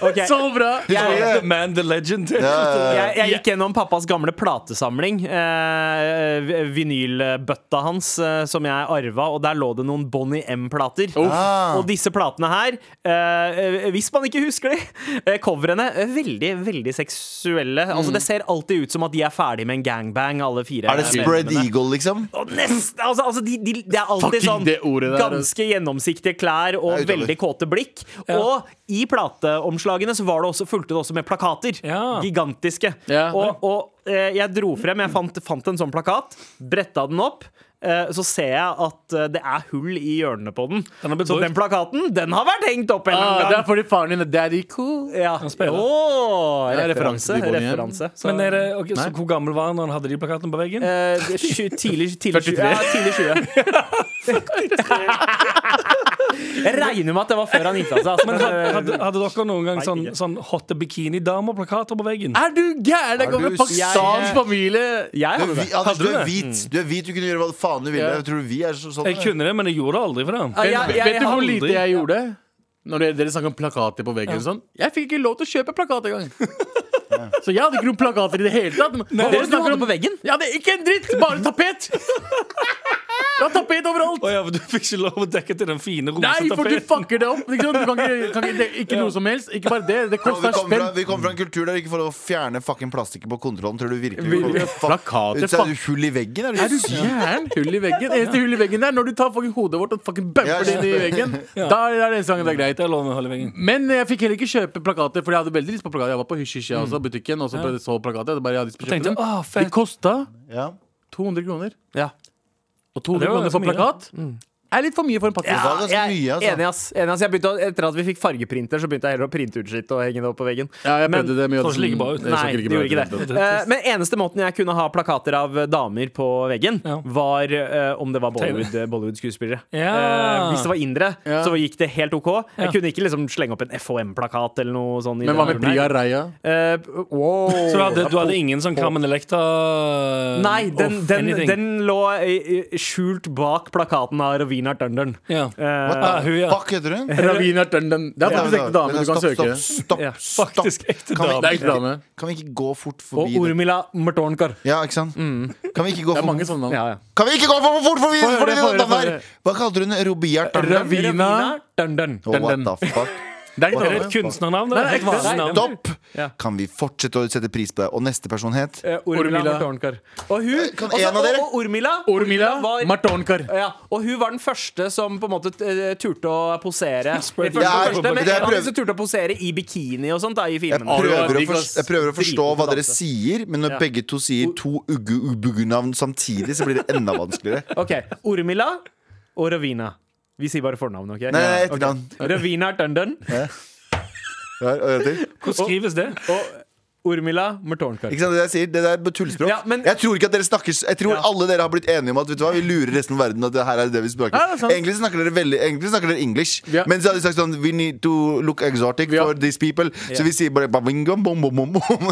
Ok.
Så bra!
The man, the legend.
Eh,
Jeg, jeg gikk gjennom pappas gamle platesamling. Eh, v- vinylbøtta hans eh, som jeg arva, og der lå det noen Bonnie M-plater.
Ah.
Og disse platene her, eh, eh, hvis man ikke husker de, eh, coverene eh, veldig, veldig seksuelle.
Mm.
Altså Det ser alltid ut som at de er ferdig med en gangbang, alle fire. Eh,
Er det Spread
medlemmene.
Eagle, liksom?
Og nest, altså, altså de, de, Det er alltid
Fucking
sånn
det ordet der, altså.
ganske gjennomsiktige klær og
Det er utover.
veldig kåte blikk. Og i plateomslagene så var det også, fulgte det også med plakater.
Ja.
Gigantiske.
Ja.
Og, og eh, jeg dro frem, jeg fant, fant en sånn plakat, bretta den opp. eh, Så ser jeg at eh, det er hull i hjørnene på den.
Den har blitt
så
brukt.
den plakaten den har vært hengt opp en eller
Ah, det
annen
er
gang.
fordi faren din er daddy cool.
Ja.
spiller.
Åh,
Det
referanse.
er referanse til Bonnie M.
referanse. Så,
Men er det, ok, så hvor gammel var han når han hadde de plakatene på veggen?
eh, det er tju- tidlig, tidlig,
43.
Ja, tidlig 20. Jeg regner med at det var før han gifta seg. Altså.
Men hadde, hadde, hadde dere noen gang
Nei,
sånn,
ikke.
sånn hotte bikinidamer-plakater på veggen?
Er du gæren? Det kommer
du-
pakistansk
Jeg-
familie.
jeg
Du er,
hadde
hvi-
det.
Anders,
Hadde
du
du
er
det?
hvit. Du er hvit, du kunne gjøre hva faen du ville.
Ja.
Jeg tror vi er så, sånn
Jeg kunne det, men jeg gjorde det aldri for det.
Ja,
Vet,
jeg- jeg
vet du hvor
hadde
lite
aldri-
jeg gjorde? Når dere, dere snakker om plakater på veggen og sånn. Jeg fikk ikke lov til å kjøpe plakat engang. Så jeg hadde ikke noen plakater i det hele tatt.
Hva var
Dere
det du
snakker
hadde
om-
på veggen?
Jeg hadde ikke en dritt! Bare tapet! Det var tapet overalt!
Å ja, for du fikk ikke lov å dekke til den fine
Nei, for du
rosetapeten.
fucker det opp! Ikke, sant? du kan ikke, kan ikke, det, ikke noe som helst. Ikke bare det.
Og
Det
vi
koster
kommer fra,
spenn.
vi kommer fra en kultur der ikke får lov å fjerne fucking plastikken på kontrollen. Tror du virkelig
Vi-
vi
vi-
får-
plakater,
Så
fuck.
Er du hull i veggen? Er
Er
du
du gæren? Hull i veggen. Eneste hull i veggen der når du tar fucking hodet vårt og fucking
Ja,
bumper det
ja.
inn i veggen. Da er det eneste gangen det er greit.
Det er lov med å holde i veggen.
Men jeg fikk heller ikke kjøpe plakater, Fordi jeg hadde veldig lyst på plakater. Jeg var på Hysjysja også, butikken, og så så plakater. Jeg hadde bare jeg hadde lyst på å
Tenkte,
kjøpe
«Å,
dem.
fett».
De kosta
ja.
200 kroner.
Ja.
Det
Og 200
var
kroner for
ganske mye.
plakat er litt for mye for en pakke.
Det var ganske
jeg,
mye, altså.
Enig, ass. Enig, ass. Jeg begynte, å- etter at vi fikk fargeprinter, så begynte jeg heller å printe ut skitt og henge det opp på veggen.
Ja, jeg
Men-
prøvde det, men jeg
så slik bare ut.
det så
Nei, det
bra
gjorde
ut i hele
ikke
tatt.
det. Eh, Men eneste måten jeg kunne ha plakater av eh, damer på veggen,
Ja.
var eh, om det var
Tegner.
Bollywood- eh, Bollywood-skuespillere.
Ja.
Eh, hvis det var indere,
Ja.
så gikk det helt OK.
Ja.
Jeg kunne ikke liksom slenge opp en FHM-plakat eller noe sånt. i
Men hva
den
med
duren
Priya
her.
Raya?
Eh, wow.
Så du hadde, du hadde ingen sånn Carmen Electra
Nei, den,
off
den,
anything?
den lå eh, eh, skjult bak plakaten av Ravina Dundern.
Ja.
Eh,
What
Ah,
the
hun, ja.
fuck heter hun?
Ravina Tønden. Det er faktisk ekte dame, du kan søke.
Stopp, stopp,
Ja,
stopp.
faktisk ekte
Kan vi-
dame.
Det er ekte dame.
Kan vi ikke gå fort
og
forbi det?
Urmila Martornkar.
Ja, ikke sant? Kan vi ikke gå
Det er
for
mange sånne navn.
Kan vi ikke gå for fort forbi
Få høre,
forbi
få høre,
det
få
navnet
høre.
her? Hva kalte hun Robiart?
Ravina
Dundern.
Oh, what
den-
the fuck?
Det er
Er det
ikke
et kunstnernavn? da?
Nei, nei,
Et vanlig
nei,
navn?
Stopp!
Ja.
Kan vi fortsette å sette pris på det? Og neste person het
Eh, Ormila
Ormila.
Martornkar. Og hun
Eh, Kan
altså,
en av dere?
og- og Ormila,
Ormila
var-
Martonkar.
ja, og hun var den første som på en måte eh, turte å posere. Den
Spread
første,
Ja,
første, men
det er
en av de
prøv-
som turte å posere i bikini og sånt da, i
jeg
filmene.
prøver, å
digg,
forstå,
ass.
jeg prøver å forstå
Dritgod
hva dere
danse.
sier, men når
Ja.
begge to sier to ugge-ubugge-navn samtidig, så blir det enda vanskeligere.
Ok, Ormila og Ravina. Vi sier bare fornavnet, OK?
Nei,
Ja, ok.
etternavn.
Ravina Tønden
Ja, og en til.
Hvordan skrives det?
og Ormila Martornkar.
Ikke sant det jeg sier? Det der er tullspråk.
Ja, men-
jeg tror ikke at dere snakker Jeg tror
Ja.
alle dere har blitt enige om at vet du hva, vi lurer resten av verden. At det her er det vi snakker
Ja, det er sant.
Egentlig snakker dere veldig Egentlig snakker dere english.
Ja.
Men så har de sagt sånn We need to look exotic
Ja.
for these people. Så vi sier bare babingam, bom, bom, bom, bom.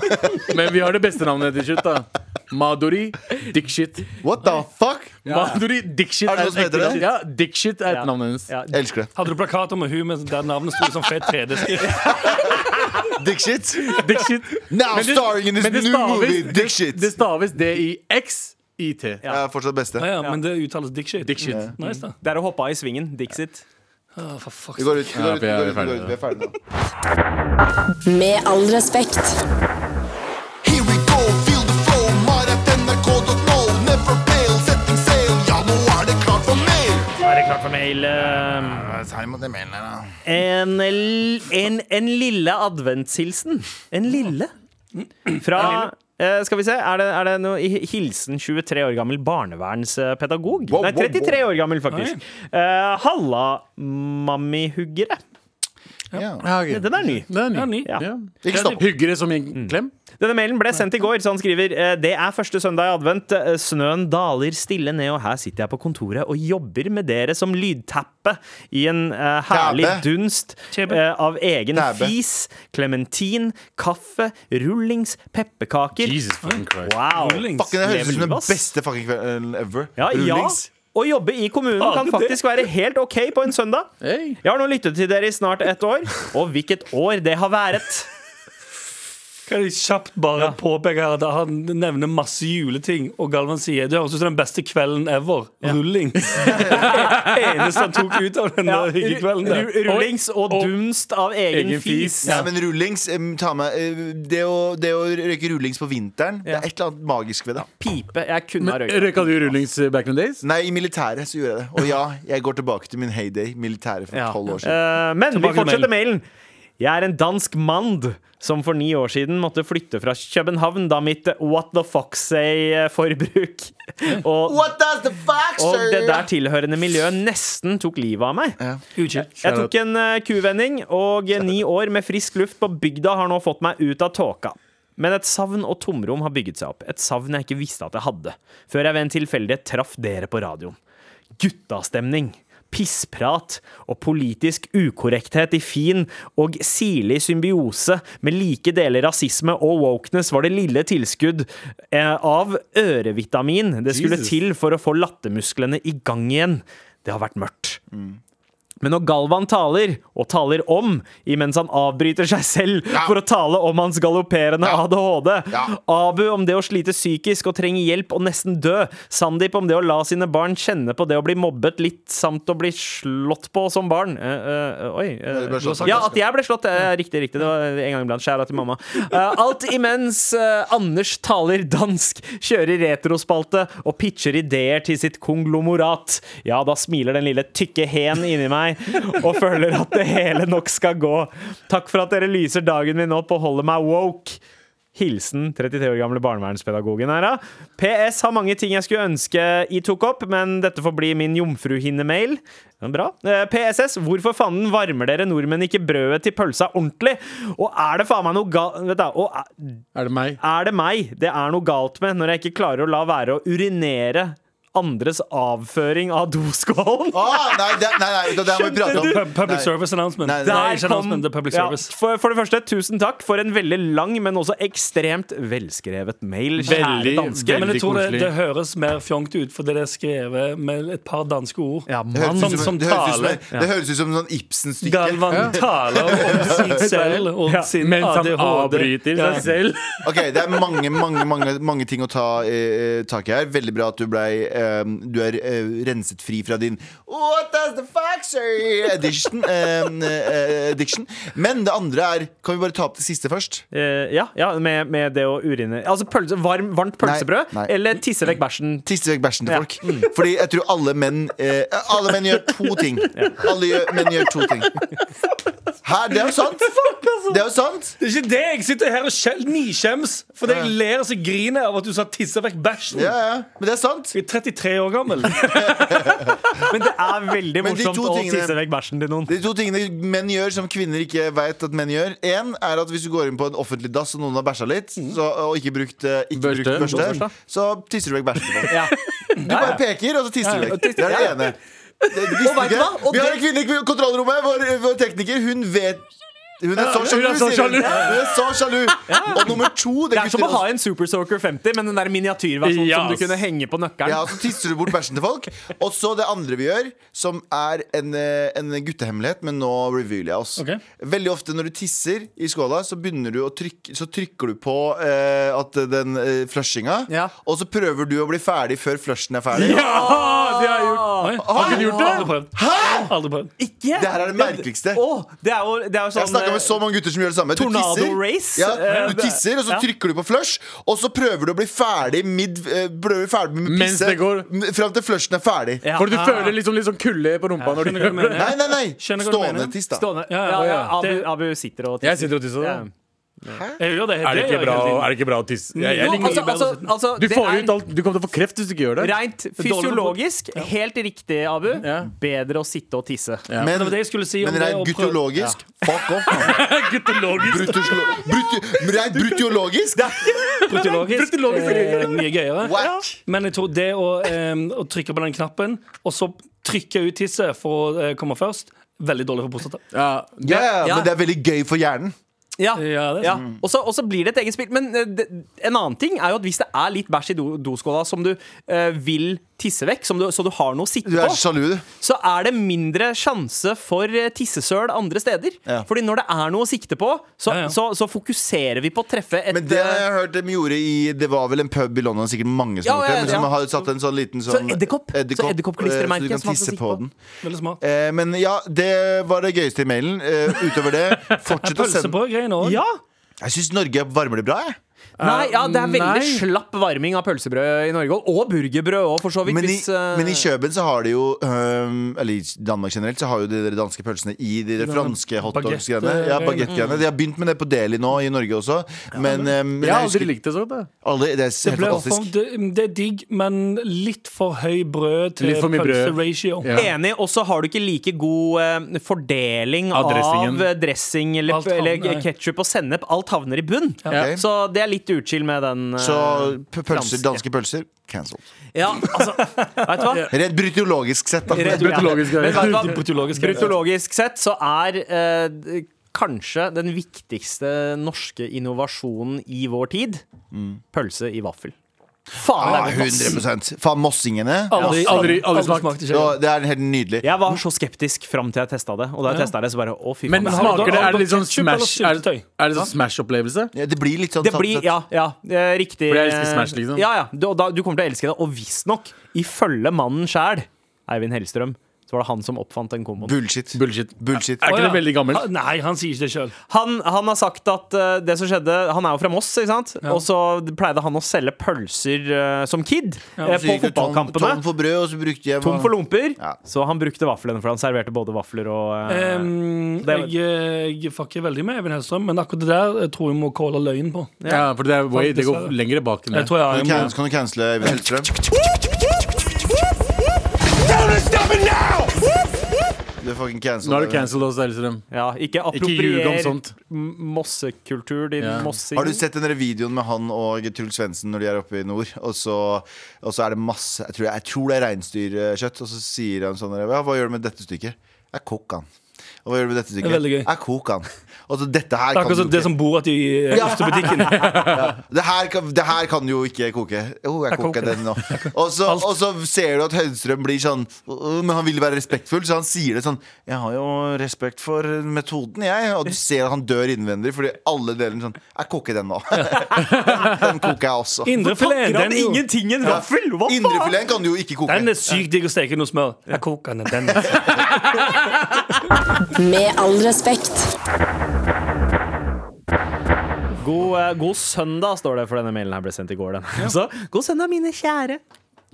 Men vi har det beste navnet til slutt, da. Maduri Dickshit.
What the fuck?
Maduri Dickshit
Er det noe som heter
et
det?
ekte- Ja, Dickshit er et navn hennes.
Ja,
Jeg elsker det.
Hadde du plakater med hun med der navnet sto i sånn fett 3D-skrift?
Dick shit.
Dickshit.
Now
Men det-
starring in this
men det
new
staves-
movie,
det-
dick shit.
Det staves D-I-X-I-T.
Jeg er fortsatt beste.
Ja, ja, men det uttales dickshit.
Dick shit.
Nice, da.
Det er å hoppe av i svingen. Dixit.
Å, for fuck's
Vi går ut. Vi
Ja,
går ut,
vi
vi
er
går ut, vi
ferdig
går ut.
nå.
Vi er ferdige nå.
Med all respekt.
Here we go, feel the flow. Maratnrk.no. Never fail, setting sail. Ja, nå er det klart for mer.
Er det klart for mail? eh, En, l- en, en lille adventshilsen. En lille. Fra eh, Skal vi se, er det, er det noe hi- Hilsen 23 år gammel barnevernspedagog.
Wow,
Nei,
wow, wow.
33 år gammel, faktisk. Uh, Halla, mammihuggere.
Ja.
Den er ny.
Den
Ja,
er ny.
ny.
Ja.
Ikke stopp.
Hyggere som i en klem.
Denne mailen ble sendt i går, så han skriver eh, Det er første søndag i advent. Eh, Snøen daler stille ned, og her sitter jeg på kontoret og jobber med dere som lydtappe i en eh, herlig
Tabbe.
dunst eh, av egen
Tabbe.
fis, klementin, kaffe, rullings, pepperkaker.
Jesus fucking Christ.
Wow.
Rullings.
Fucking, Det høres
Lever
ut som den
livet, ass.
beste fucking kvelden ever.
Ja, ja.
Rullings.
Å jobbe i kommunen
Fader,
kan
det-
faktisk være helt OK på en søndag.
Hey.
Jeg har nå lyttet til dere i snart ett år, og hvilket år det har vært.
Kan jeg kjapt bare påpeke her at han nevner masse juleting, og Galvan sier det høres ut som den beste kvelden ever. Rulling. Eneste han tok ut av den
Ja,
der hyggekvelden der.
ru- Rullings og dunst av egen,
egen
fis.
fis.
Ja, men rullings em, ta med, eh, det, å, det å røyke rullings på vinteren, det
Ja.
er et eller annet magisk ved det.
Pipe. Jeg kunne ha
Men
røyka.
Røyka du rullings eh, back in the days?
Nei, i militæret så gjorde jeg det. Og ja, jeg går tilbake til min heyday. Militæret for
Ja.
tolv år siden.
Eh, men vi
Tilbake til
fortsetter mailen. Jeg er en dansk mand som for ni år siden måtte flytte fra København da mitt What the fuck say-forbruk og,
What does the fuck,
og
sir?
det der tilhørende miljøet nesten tok livet av meg.
Utkjent.
Jeg tok en eh, kuvending, og eh, ni år med frisk luft på bygda har nå fått meg ut av tåka. Men et savn og tomrom har bygget seg opp. Et savn jeg ikke visste at jeg hadde, før jeg ved en tilfeldighet traff dere på radioen. Guttastemning, pissprat og politisk ukorrekthet i fin og sirlig symbiose med like deler rasisme og wokeness var det lille tilskudd eh, av ørevitamin det skulle
Jesus.
til for å få lattermusklene i gang igjen. Det har vært mørkt. Men når Galvan taler, og taler om, imens han avbryter seg selv for å tale om hans galopperende ADHD, Abu om det å slite psykisk og trenge hjelp og nesten dø, Sandeep om det å la sine barn kjenne på det å bli mobbet litt, samt å bli slått på som barn Eh, eh, Oi. eh,
ble slått.
ja, at jeg ble slått. eh, riktig, riktig. Det var en gang iblant. Skjæra til mamma. Eh, alt imens eh, Anders taler dansk, kjører retrospalte og pitcher ideer til sitt konglomorat. Ja, da smiler den lille tykke hen inni meg og føler at det hele nok skal gå. Takk for at dere lyser dagen min opp og holder meg woke. Hilsen 33 år gamle barnevernspedagogen her, da. PS har mange ting jeg skulle ønske I tok opp, men dette får bli min jomfruhinne-mail. Ja, Bra. Eh, PSS, hvorfor fanden varmer dere nordmenn ikke brødet til pølsa ordentlig? Og er det faen meg noe ga... Vet du, og er-
Er det meg?
er det meg det er noe galt med når jeg ikke klarer å la være å urinere andres avføring av doskålen?
Ah, nei, det, nei, nei, det, det må vi prate om.
Pub- Public
Nei.
service announcement.
Nei, nei.
Nei,
Der
ikke announcement, det er public
ja,
service.
for, for det første, tusen takk for en veldig lang, men også ekstremt velskrevet mail.
Veldig,
Kjære danske.
Men
veldig
jeg tror det,
koselig.
det høres mer fjongt ut fordi det er skrevet med et par danske ord.
Ja,
Det høres ut
mann.
Som-
som,
som
det høres ut som,
taler.
det høres ut som sånn Ibsen-stykke.
Galvan taler om seg selv og sin
Mens han
ADHD.
avbryter
Ja.
seg selv.
Ok, Det er mange mange, mange, mange ting å ta eh, tak i her. Veldig bra at du blei eh, eh, du er eh, renset fri fra din What does the fuck say addiction, eh, eh, addiction. Men det andre er Kan vi bare ta opp det siste først?
Eh, ja, ja med, med det å urine Altså pølse, varm, varmt pølsebrød,
Nei, nei.
eller tisse vekk bæsjen.
Tisse vekk bæsjen til
Ja.
folk. Fordi jeg tror alle menn eh, Alle menn gjør to ting. Alle gjør, menn gjør to ting. Hæ? Det er jo sant! Det er jo sant!
Det er ikke det! Jeg sitter her og skjel- nikjems fordi jeg ler så griner jeg av at du sa 'tisse vekk bæsjen'.
Ja, ja. Men det er sant.
Jeg er 33 år gammel.
Men det er veldig
Men de to
morsomt å
tingene-
tisse vekk bæsjen til noen.
De to tingene menn gjør som kvinner ikke vet at menn gjør. En er at Hvis du går inn på en offentlig dass og noen har bæsja litt,
Mm.
så, og ikke brukt eh, ikke
Børste.
brukt børste,
Børste.
så tisser du vekk bæsjen. til folk.
Ja.
Du bare peker, og så tisser du vekk. Det er det ene. Det visste
Og vet
du
du
ikke.
hva? Og
Vi har en
det-
kvinne i kontrollrommet. Vår, vår tekniker, hun vet Hun er så sjalu.
er så
sier
sjalu.
hun. Hun er så sjalu. Og nummer to
Det er som å
gutter-
ha en Super Soaker 50, men den der miniatyrversjonen som
Yes.
du kunne henge på nøkkelen.
Ja, så tisser du bort bæsjen til folk. Og så det andre vi gjør, som er en, eh, en guttehemmelighet, men nå revealer jeg oss.
Ok.
Veldig ofte når du tisser i skåla, så, begynner du å trykke, så trykker du på eh, at den eh, flushinga,
Ja.
og så prøver du å bli ferdig før flushen er ferdig.
Ja, det har jeg gjort.
Oi,
Har du gjort det?
Aldri prøvd. Aldri prøvd.
Ikke?
Det her er det merkeligste.
Å, det er jo, det er
Jeg
jo sånn
snakka med så mange gutter som gjør det samme. Du
Tornado
tisser,
race?
ja,
Eh,
du tisser og så
ja.
trykker du på flush, og så prøver du å bli ferdig, mid, eh, prøver ferdig med
Mens
pisse
det går.
m- fram til flushen er ferdig.
Ja.
For du føler liksom litt sånn kulde på rumpa. Når du
Skjønner hva
Nei,
du
nei, nei!
Skjønner hva du
Stående
mener.
tiss, da.
Stående. Ja, ja, Abu,
Det-
Abu sitter og
jeg sitter og tisser.
Ja.
da.
mener. Jeg gjør det. gjør
Er det ikke
jeg
bra,
hele tiden.
er det ikke bra å tisse? Jeg, jeg
Jo,
liker
altså,
ikke
altså, altså,
Du
det
får
er
ut alt Du kommer til å få kreft hvis du ikke gjør det.
Rent fysiologisk, helt riktig, Abu.
Ja.
Bedre å sitte og tisse.
Men det var det jeg skulle si om
Men
det
rent
å prøve-
gutteologisk, fuck off. man.
Guttelogisk.
Brutoslo- brutu- Rent brutologisk?
Brutologisk. Eh, mye gøyere.
Whack.
Men jeg tror det å, eh, å trykke på den knappen, og så trykke ut tisset for å eh, komme først, veldig dårlig for prostata.
Ja,
Ja, ja,
Ja.
men det er veldig gøy for hjernen.
Ja,
Ja, det er
ja. Og så- og så blir det et eget spill. Men eh, det, en annen ting er jo at hvis det er litt bæsj i do, doskåla som du eh, vil tisse vekk, som du, så du har noe å sitte
Du er
på,
sjalu, du.
så er det mindre sjanse for eh, tissesøl andre steder.
Ja.
Fordi når det er noe å sikte på, så,
Ja, ja.
så, så fokuserer vi på å treffe et
Men det har
eh,
jeg hørt de gjorde i Det var vel en pub i London, sikkert mange som
Ja,
har gjort det,
ja,
men som
ja.
har satt en sånn liten sånn
edderkopp. Så
eh,
edderkoppklistremerke
Så du kan
som man skal
tisse
sitte
på
på.
den.
Veldig smart.
Eh, Men ja, det var det gøyeste i mailen. Eh, Utover det, fortsett å sende.
Pølsebrødgreiene òg.
eh, Ja!
Jeg syns Norge varmer det bra, jeg.
Nei, ja, det er veldig
nei.
slapp varming av pølsebrød i Norge. Og burgerbrød òg, for så vidt.
Men i,
hvis, eh,
men i Kjøben så har de jo øhm, Eller i Danmark generelt så har jo de der danske pølsene i de der franske hotdogs-greiene.
baguette-
Ja, baguettgreiene. De har begynt med det på Deli nå i Norge også. Men, øhm, men
Jeg
jeg
har aldri
husker
likt det sånn, så godt. jeg.
aldri, Det er
Det,
helt
ble for,
fantastisk.
det, det er digg, men litt for høy brød til
Litt for mye brød.
pølseratio.
Ja.
Enig, og så har du ikke like god eh, fordeling
Av
av,
dressingen.
eh, dressing eller,
Alt havner-
eller ketsjup og sennep. Alt havner i bunn.
Ok.
Så det er litt utskill med den. eh,
Så p- pølser,
franske.
danske pølser cancelled.
Ja, altså, vet du hva?
Rent brytologisk sett, da.
Rett-
Brutologisk,
Men
ja.
vet du hva?
Brutologisk.
Brutologisk sett så er eh, d- kanskje den viktigste norske innovasjonen i vår tid pølse i vaffel. Faen,
Ah,
det er godt, ass.
100 Faen, mossingene.
Aldri,
Aldri- aldri smakt.
smakte
Ja,
kjøtt.
det er helt nydelig.
Jeg var så skeptisk fram til jeg testa det, og da jeg
Ja.
testa det, så bare å, fy
Men
faen.
har du
smaker
da
det Er det litt sånn
ketchup eller
smash Er,
syltetøy?
er det sånn smash-opplevelse?
Ja, det blir litt sånn
Det
satt
blir,
sett.
ja, ja eh, riktig.
For jeg elsker Smash, liksom.
Ja, ja. Du, og da, du kommer til å elske det. Og visstnok, ifølge mannen sjæl, Eivind Hellstrøm, så var det han som oppfant den komboen.
Bullshit.
Bullshit.
Bullshit.
Er ikke det veldig
Ah,
gammelt?
Nei, han sier ikke det sjøl.
Han, han har sagt at eh, det som skjedde Han er jo fra Moss, ikke sant? Og så pleide han å selge pølser eh, som kid eh,
Så
på
gikk det tom-
fotballkampene.
Tom for brød, og så brukte jeg
Tom for lomper.
Ja.
Så han brukte vaflene, for han serverte både vafler og eh,
jeg, eh, jeg fucker veldig med Even Hellstrøm, men akkurat det der jeg tror jeg må calle løgn på.
Ja, for det, er way, det går
Dessverre.
lengre bak enn
Jeg
det.
tror jeg,
Kan du
må,
can- kan du cancele Eivind Hellstrøm? Du er fucking cancelled.
Nå er sånn- du
Eivind.
cancelled også, Elstrøm.
Ja, ikke
ljug om
approprier
sånt.
m- mossekultur, din
Ja.
mossing.
Har du sett den der videoen med han og Truls Svendsen når de er oppe i nord? Og så, og så er det masse Jeg tror, jeg tror det er reinsdyrkjøtt. Og så sier han sånn ja, Hva gjør du med dette stykket? Jeg kokk han. Og hva gjør du med dette
Det er
stykket?
veldig gøy.
Jeg koker den. Og så dette her
Det er
kan
akkurat
du
som det
ikke.
som bor at i eh, ostebutikken.
Det her, kan, det her kan jo ikke koke. Jo, jeg, koker
koker det.
den nå. Og så,
Alt.
og så ser du at Hønstrøm blir sånn «Øh, Men han vil være respektfull, så han sier det sånn Jeg har jo respekt for metoden, jeg. Og du ser at han dør innvendig, fordi alle deler den sånn Jeg koker den nå. den koker jeg også.
Indrefileten,
Pakker han
den, er jo-
ingenting i en vaffel? Hva faen?
Indrefileten kan du jo ikke koke.
den er sykt digg å steke noe smør. Jeg koker den. den.
Med all respekt.
God, eh, god søndag, står det, for denne mailen her ble sendt i går. Den. Så, god søndag, mine kjære.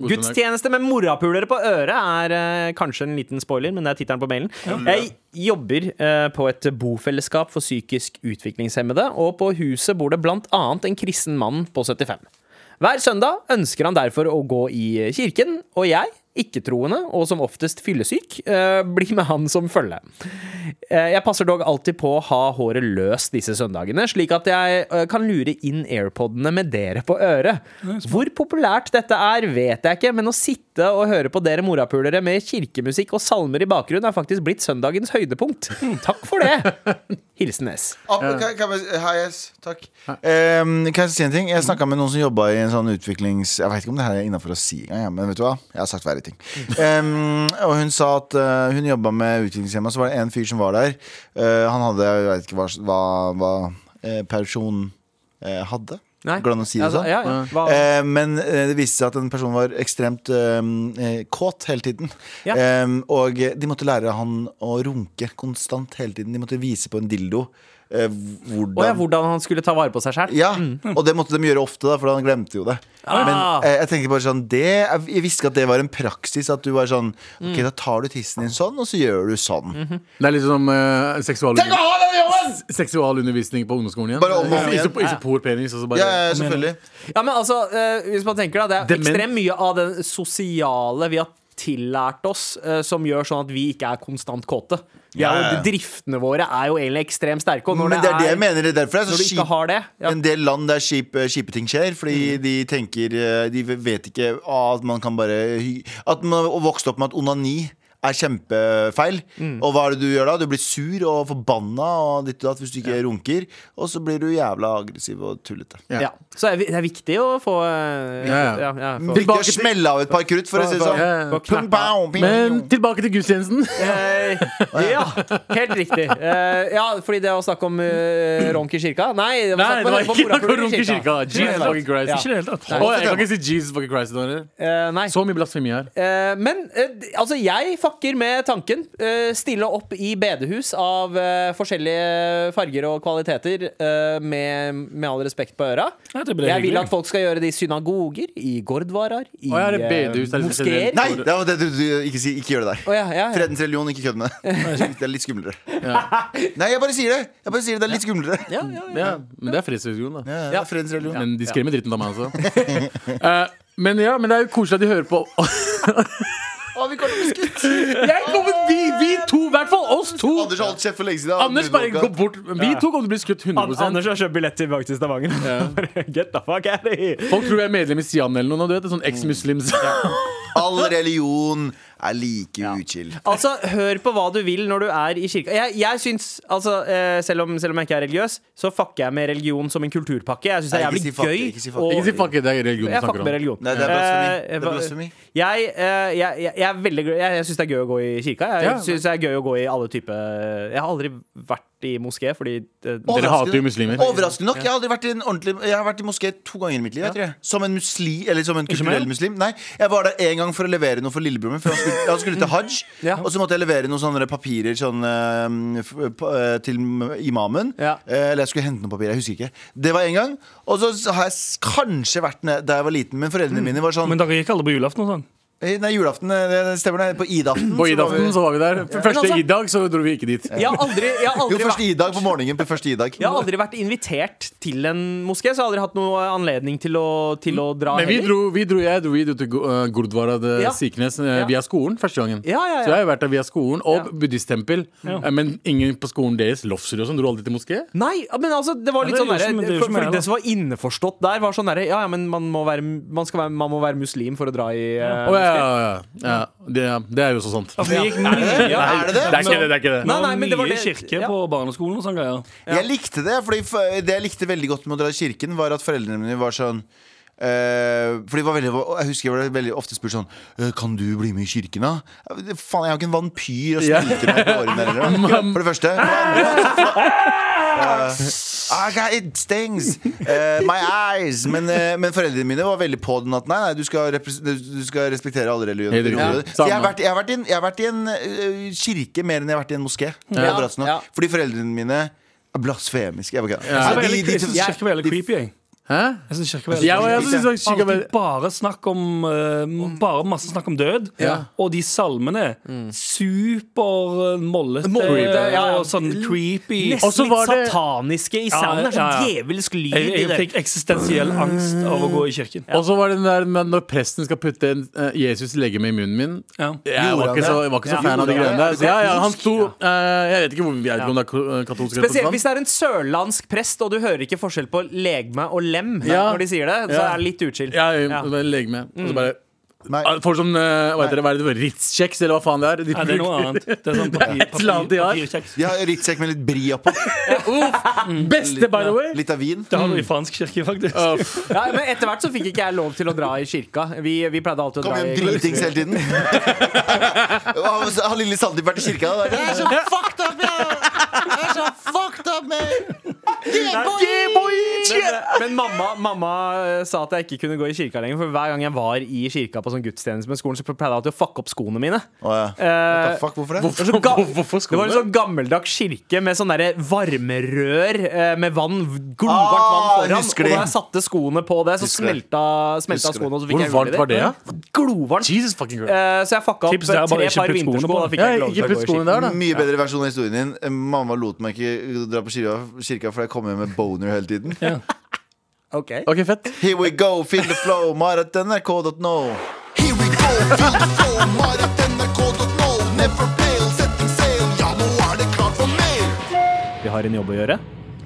Gudstjeneste med morapulere på øret er eh, kanskje en liten spoiler, men det er tittelen på mailen. Jeg jobber eh, på et bofellesskap for psykisk utviklingshemmede, og på huset bor det blant annet en kristen mann på 75. Hver søndag ønsker han derfor å gå i eh, kirken, og jeg, ikke-troende og som oftest fyllesyk, eh, blir med han som følge. Eh, Jeg passer dog alltid på å ha håret løst disse søndagene, slik at jeg eh, kan lure inn airpodene med dere på øret. Hvor populært dette er, vet jeg ikke, men å sitte og høre på dere morapulere med kirkemusikk og salmer i bakgrunnen er faktisk blitt søndagens høydepunkt. Takk for det! Hilsen S.
Opp, Ah, kan, kan jeg, hei, yes, takk. Ehm, kan jeg si en ting? Jeg snakka med noen som jobba i en sånn utviklings... Jeg vet ikke om det her er innafor å si engang, ja, men vet du hva? Jeg har sagt verre ting. Ehm, og hun sa at eh, hun jobba med utviklingshemma, så var det en fyr som var der. Eh, han hadde Jeg vet ikke hva, hva, hva eh, person eh, hadde. Går det an å si det sånn?
Altså, Ja, ja. Hva?
Eh, men eh, det viste seg at den personen var ekstremt eh, eh, kåt hele tiden.
Ja.
Eh, og de måtte lære han å runke konstant hele tiden. De måtte vise på en dildo eh, hvordan
Å ja, hvordan han skulle ta vare på seg sjæl?
Ja, og det måtte de gjøre ofte, da, for han glemte jo det. Men
Ah.
eh, jeg tenker bare sånn det, Jeg visste ikke at det var en praksis. At du var sånn
Mm.
Ok, da tar du tissen din sånn, og så gjør du sånn.
Mhm.
Det er litt som eh,
Tenk å
seksualundervisning
ha den jobben!
seksualundervisning på ungdomsskolen igjen.
Bare om og om
Ikke-
igjen.
Ikke, på- ikke por penis. og så
Ja,
bare,
ja, selvfølgelig.
Ja, men altså, eh, hvis man tenker da, Det er
Dement.
ekstremt mye av det sosiale vi har tillært oss, eh, som gjør sånn at vi ikke er konstant kåte. Vi er jo,
Ja, ja, ja.
Driftene våre er jo egentlig ekstremt sterke. Og når,
Men det er det jeg mener. Det er derfor det er
når
så
du ikke
kjipt.
har det ja.
en del land der skip, kjipe ting skjer, fordi de tenker eh, De vet ikke ah, at man kan bare hy- At man har vokst opp med at onani er kjempefeil. Og hva er det du gjør da? Du blir sur og forbanna og ditt og datt hvis du ikke runker. Og så blir du jævla aggressiv og tullete.
Ja.
Ja. Så er vi- det er viktig å få eh,
Ja, ja.
få-
Viktig å smelle Mm. av et par krutt, for å si det sånn.
Ja, ja.
Pung, bau, ping,
Men
ping.
tilbake til gudstjenesten.
Eh, ja, helt riktig. Eh, ja, fordi det å snakke om eh, ronk i kirka Nei, det var, snakk
Nei,
om-
det var
på
ikke noe
morapuler i
runk i kirka. Jesus fucking Christ.
Ikke i det hele tatt.
Å, jeg kan ikke si Jesus fucking Christ. nå, eller?
Eh, nei.
Så mye blasfemi her.
Eh, men eh, d- altså, jeg fucker med tanken. Eh, stille opp i bedehus av eh, forskjellige farger og kvaliteter eh, med, med all respekt på øra.
Ja, det blir
Jeg vil
hyggelig.
at folk skal gjøre det i synagoger, i gordvarer, i
Å, ja, det er
eh,
bedehus, det er liksom
moskeer.
generelt.
Nei, det var det du, du ikke, si, ikke gjør det der.
Å, ja, ja, ja.
Fredens religion, ikke kødd med det. Det er litt skumlere. Nei, jeg bare sier det. Jeg bare sier Det, det er litt skumlere.
Ja, ja, ja.
Ja, men det er fredsreligionen, da.
Ja,
Ja.
Fredens religion.
Men de skremmer dritten av meg, altså. Eh, men ja, men det er jo koselig at de hører på.
Å, vi kommer til å bli skutt!
Jeg kommer, vi, vi to, i hvert fall oss to!
Anders har holdt kjeft for lenge siden.
Anders bare gå bort. Vi to kommer til å bli skutt 100
har kjøpt billett tilbake til Stavanger. Get the fuck out of here!
Folk tror jeg er medlem i Sian eller noe. Du vet, sånn eks-muslims.
All religion er like uchill.
Altså, Hør på hva du vil når du er i kirka. Jeg, jeg syns, altså, eh, selv, om, selv om jeg ikke er religiøs, så fucker jeg med religion som en kulturpakke. Jeg syns det er
Nei, ikke
jævlig
si fucker,
gøy.
ikke si fucker.
å-
Ikke si fuck it, det er religion du
Jeg fucker med
snakker om.
religion.
Nei, det er blasfemi.
Eh,
Det er blasfemi.
Jeg, eh, jeg, jeg, jeg er veldig glad Jeg, jeg syns det er gøy å gå i kirka. Jeg
Ja.
synes det er gøy å gå i alle typer Jeg har aldri vært i moské, fordi eh,
Dere
Overraskende-
hater jo muslimer.
Overraskende nok. Jeg har aldri vært i en ordentlig Jeg har vært i moské to ganger i mitt liv. Jeg, tror jeg. Som en muslim, eller som en kulturell muslim. Nei, jeg var der en gang for å levere noe for lillebroren min. For han skulle, han skulle til hajj.
Ja.
Og så måtte jeg levere noen sånne papirer sånn, eh, f- på- eh, til m- imamen.
Ja.
Eh, Eller jeg skulle hente noen papirer. Jeg husker ikke. Det var en gang. Og så s- har jeg s- kanskje vært ned- da jeg var liten, men
Mm.
foreldrene mine var sånn
Men dere gikk aldri på julaften og sånn?
eh, Nei, julaften, eh, det det stemmer det. På idaften.
På
så var vi-
idaften så var vi der. F- Første
Men altså-
idag så dro vi ikke dit.
Jeg har aldri, jeg har
Jo,
aldri
første
vært
idag på morgenen på første idag.
jeg har aldri vært invitert til en moské, så jeg har aldri hatt noe anledning til å, til å dra
Men vi
heller.
dro, vi dro, jeg dro, vi dro til Gu- eh, Gurdwara de
Ja.
Siknes eh,
Ja.
via skolen første gangen.
Ja, ja, ja.
Så jeg har vært der via skolen og
Ja.
buddhisttempel. Eh, Men ingen på skolen deres, Lofsrud og sånn, dro aldri til moské.
Nei, ja, men altså, det var litt
det er jo
sånn
som-
derre
det er jo
for-
som jeg,
Fordi
da.
det som var innforstått der, var sånn derre Ja, ja, men man må være, man skal være, man må være muslim for å dra i eh,
Å ja, ja, ja, ja. Det, det er jo så sant.
Vi Altså, gikk mye
Er det det?
Det er ikke det. det, er ikke det.
Nei, nei, men det var
mye
det-
kirke
ja.
på barneskolen og sånne greier.
Jeg likte det, fordi f- det jeg likte veldig godt med å dra i kirken, var at foreldrene mine var sånn eh, fordi det var veldig, Jeg husker jeg ble veldig ofte spurt sånn «Eh, Kan du bli med i kirken, da? Eh, Faen, jeg har ikke en vampyr å
Ja.
snike meg på årene heller. da. For det første. For det andre, så- Eh, I got- it stings! Eh, my eyes! Men, eh, men foreldrene mine var veldig på den at nei, nei du, skal repres- du skal respektere alle religioner.
Helt riktig.
religioner.
Ja,
Så jeg har,
samme.
vært, jeg, har vært i en, jeg har vært i en eh, kirke mer enn jeg har vært i en moské.
Ja.
Overraskende nok.
Ja.
Fordi foreldrene mine er blasfemiske. Jeg, bare kødder.
Jeg
Altså,
var
de-
veldig
de-
creepy. Jeg synes kirke var veldig creepy, jeg.
Hæ?
Jeg synes kirke var
Ja, og jeg
veldig creepy.
synes også kirken
Alltid
var-
bare snakk om eh, Bare masse snakk om død.
Ja.
Og de salmene. Supermollete
Mollete, ja, ja.
og sånn creepy.
Og så
Nesten
var
litt
det-
sataniske i
Ja,
sound. Det er
ja,
sånn
ja.
djevelsk lyd
Jeg,
i
jeg
det.
fikk eksistensiell angst av å gå i kirken.
Og så var det den der med når presten skal putte en, eh, Jesus' legeme i munnen min.
Ja.
Jeg
Gjorde
var
han
ikke så,
det?
jeg var ikke så
Ja.
fan av de
Gjorde han
greiene
det?
der. Så ja, ja, han sto
Ja.
eh, Jeg vet ikke, hvor, jeg vet ikke om det er ko- eh, katolsk eller
Spesielt hvis
protestant.
det er en sørlandsk prest, og du hører ikke forskjell på legme og lem
Ja.
når de sier det, så
Ja.
er det litt utskilt.
Ja, jeg,
Ja. Mm.
jeg legger med. Og så bare
Nei.
Ah, Folk som eh, hva heter det, hva er det, Ritz-kjeks, eller hva faen det er. De
Nei, det er noe annet. Det er sånn papir,
et eller
papir,
annet de har.
papirkjeks.
De har rittsekk med litt bria på.
Beste, by the way!
Litt av vin.
Det har du i fransk kirke, faktisk.
Ja, men etter hvert så fikk ikke jeg lov til å dra i kirka. Vi, vi pleide alltid å
Kom
dra
hjem
i
dritings hele tiden. altså, Har har lille Sandeep vært i kirka? da? Det er så fucked up, ja! Det er så fucked up, man!
Men, men mamma, mamma eh, sa at jeg ikke kunne gå i kirka lenger, for hver gang jeg var i kirka på sånn gudstjeneste med skolen, så pleide jeg alltid å fucke opp skoene mine.
Å, ja. What
Eh,
the fuck, hvorfor det?
Det var, så ga
hvorfor
det var en sånn gammeldags kirke med sånn derre varmerør eh, med vann, glovarmt vann
Ah,
foran.
husker
Og
det.
da jeg satte skoene på det, så
Husker det.
smelta, smelta
Husker det.
skoene. Og så fikk
Hvor
jeg hull i
varmt var det? Ja?
Glovarmt.
Jesus fucking Christ.
Eh, så jeg fucka opp
Tipset er bare
tre
ikke
par
putt skoene
vintersko, og
på.
da fikk
Ja,
jeg ikke lov
ikke
til
putt
å gå i kirka.
skoene der, da.
Mye bedre versjon av historien din. Mamma lot meg ikke dra på kirka- kirka, for jeg kom hjem med boner hele tiden.
Ok.
Ok, fett.
Here we go, feel the flow, maratnrk.no.
Here we go, feel the flow, maratnrk.no. Never fail, setting sail, ja nå er det klart for mer.
Vi har en jobb å gjøre.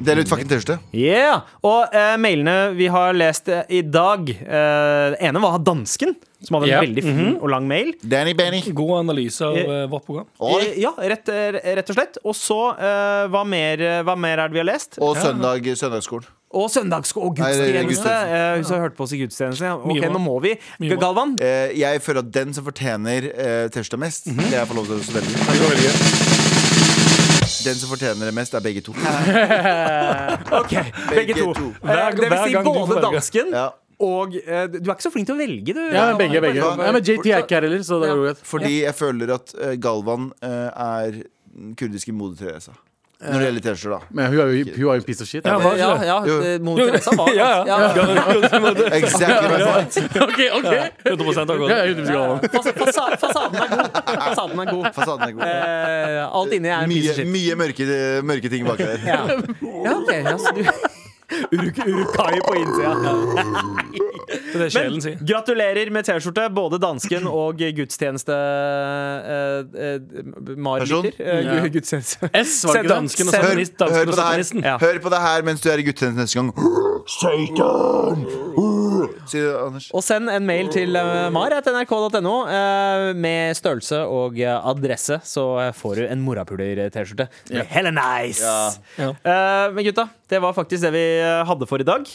Del ut fucking T-skjorte.
Yeah! Og eh, mailene vi har lest eh, i dag eh, Det ene var dansken, som hadde en
Ja.
veldig fin og lang mail.
Danny Benny.
God analyse av eh, vårt program.
Oi.
Eh, ja, rett, eh, rett og slett. Og så eh, hva, mer, eh, hva mer er det vi har lest?
Og søndag, søndagsskolen.
Og søndags- og
Nei, det er
gudstjeneste. Eh, Hvis du har hørt på oss i gudstjeneste, ja. ok,
Mye
nå må vi.
Mye bra.
Galvan,
Eh, jeg føler at den som fortjener uh, T-skjorta mest, det jeg får lov til å velge Den som fortjener det mest, er begge to.
Eh, ok, begge
Begge
to.
to.
Eh, det vil
hver
si
gang du
både
får velge.
dansken
Ja.
og eh, Du er ikke så flink til å velge, du.
Ja, men begge, begge. Ja, men JT er ikke her heller, så det går greit.
Fordi jeg føler at eh, Galvan eh, er den kurdiske moder Teresa. Når det gjelder T-skjorter, da.
Men hun er jo hun er jo en piece of shit.
Ja, hva
Ja,
er det?
ja,
Jo.
det- Mona Teresa var
Ja, ja.
ja.
Exactly my point.
Ok, ok ja,
100 av
jeg er
godt.
100% glad.
Fasa- fasa- Fasaden er god. Fasaden er god.
Fasaden er god.
Eh, alt inni er en piece
Mye,
of shit.
mye mørke, mørke ting baki der.
Ja. ja, ok. Ja, så du Uruk Urukai på innsida.
Det er sjelen sin.
Gratulerer med T-skjorte, både dansken og gudstjeneste... eh, Uh,
Person?
Marlytter. Uh, gudstjeneste.
S, var det ikke det?
Dansken og
Hør-
Hør,
satanist, dansken
hør, på
og
det
satanisten.
her. hør på det her mens du er i guttetjenesten neste gang. Satan! Sier det, Anders.
Og send en mail til eh, mar.nrk.no eh, med størrelse og eh, adresse, så eh, får du en morapuler-T-skjorte. Det blir Hella nice!
Ja.
Eh, men gutta, det var faktisk det vi eh, hadde for i dag.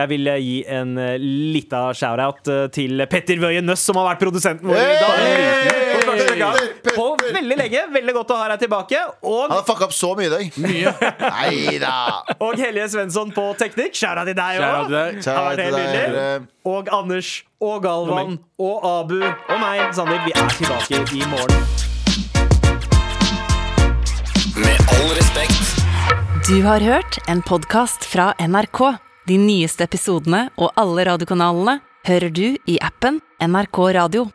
Jeg vil eh, gi en uh, lita shout-out eh, til Petter Wøien Nøss, som har vært produsenten vår i dag.
Hey!
For første gang
Petter,
På
Petter.
veldig lenge. Veldig godt å ha deg tilbake. Og,
Han har fucka opp så mye i dag. Nei da.
og Helje Svensson på teknikk. Shout-out til deg
Shout out
òg.
til deg.
Har vært helt nydelig.
dere.
og Anders og Galvan og Abu og meg, Sander. Vi er tilbake i morgen.
Du har hørt en podcast fra NRK. De nyeste episodene og alle radiokanalene hører du i appen NRK Radio.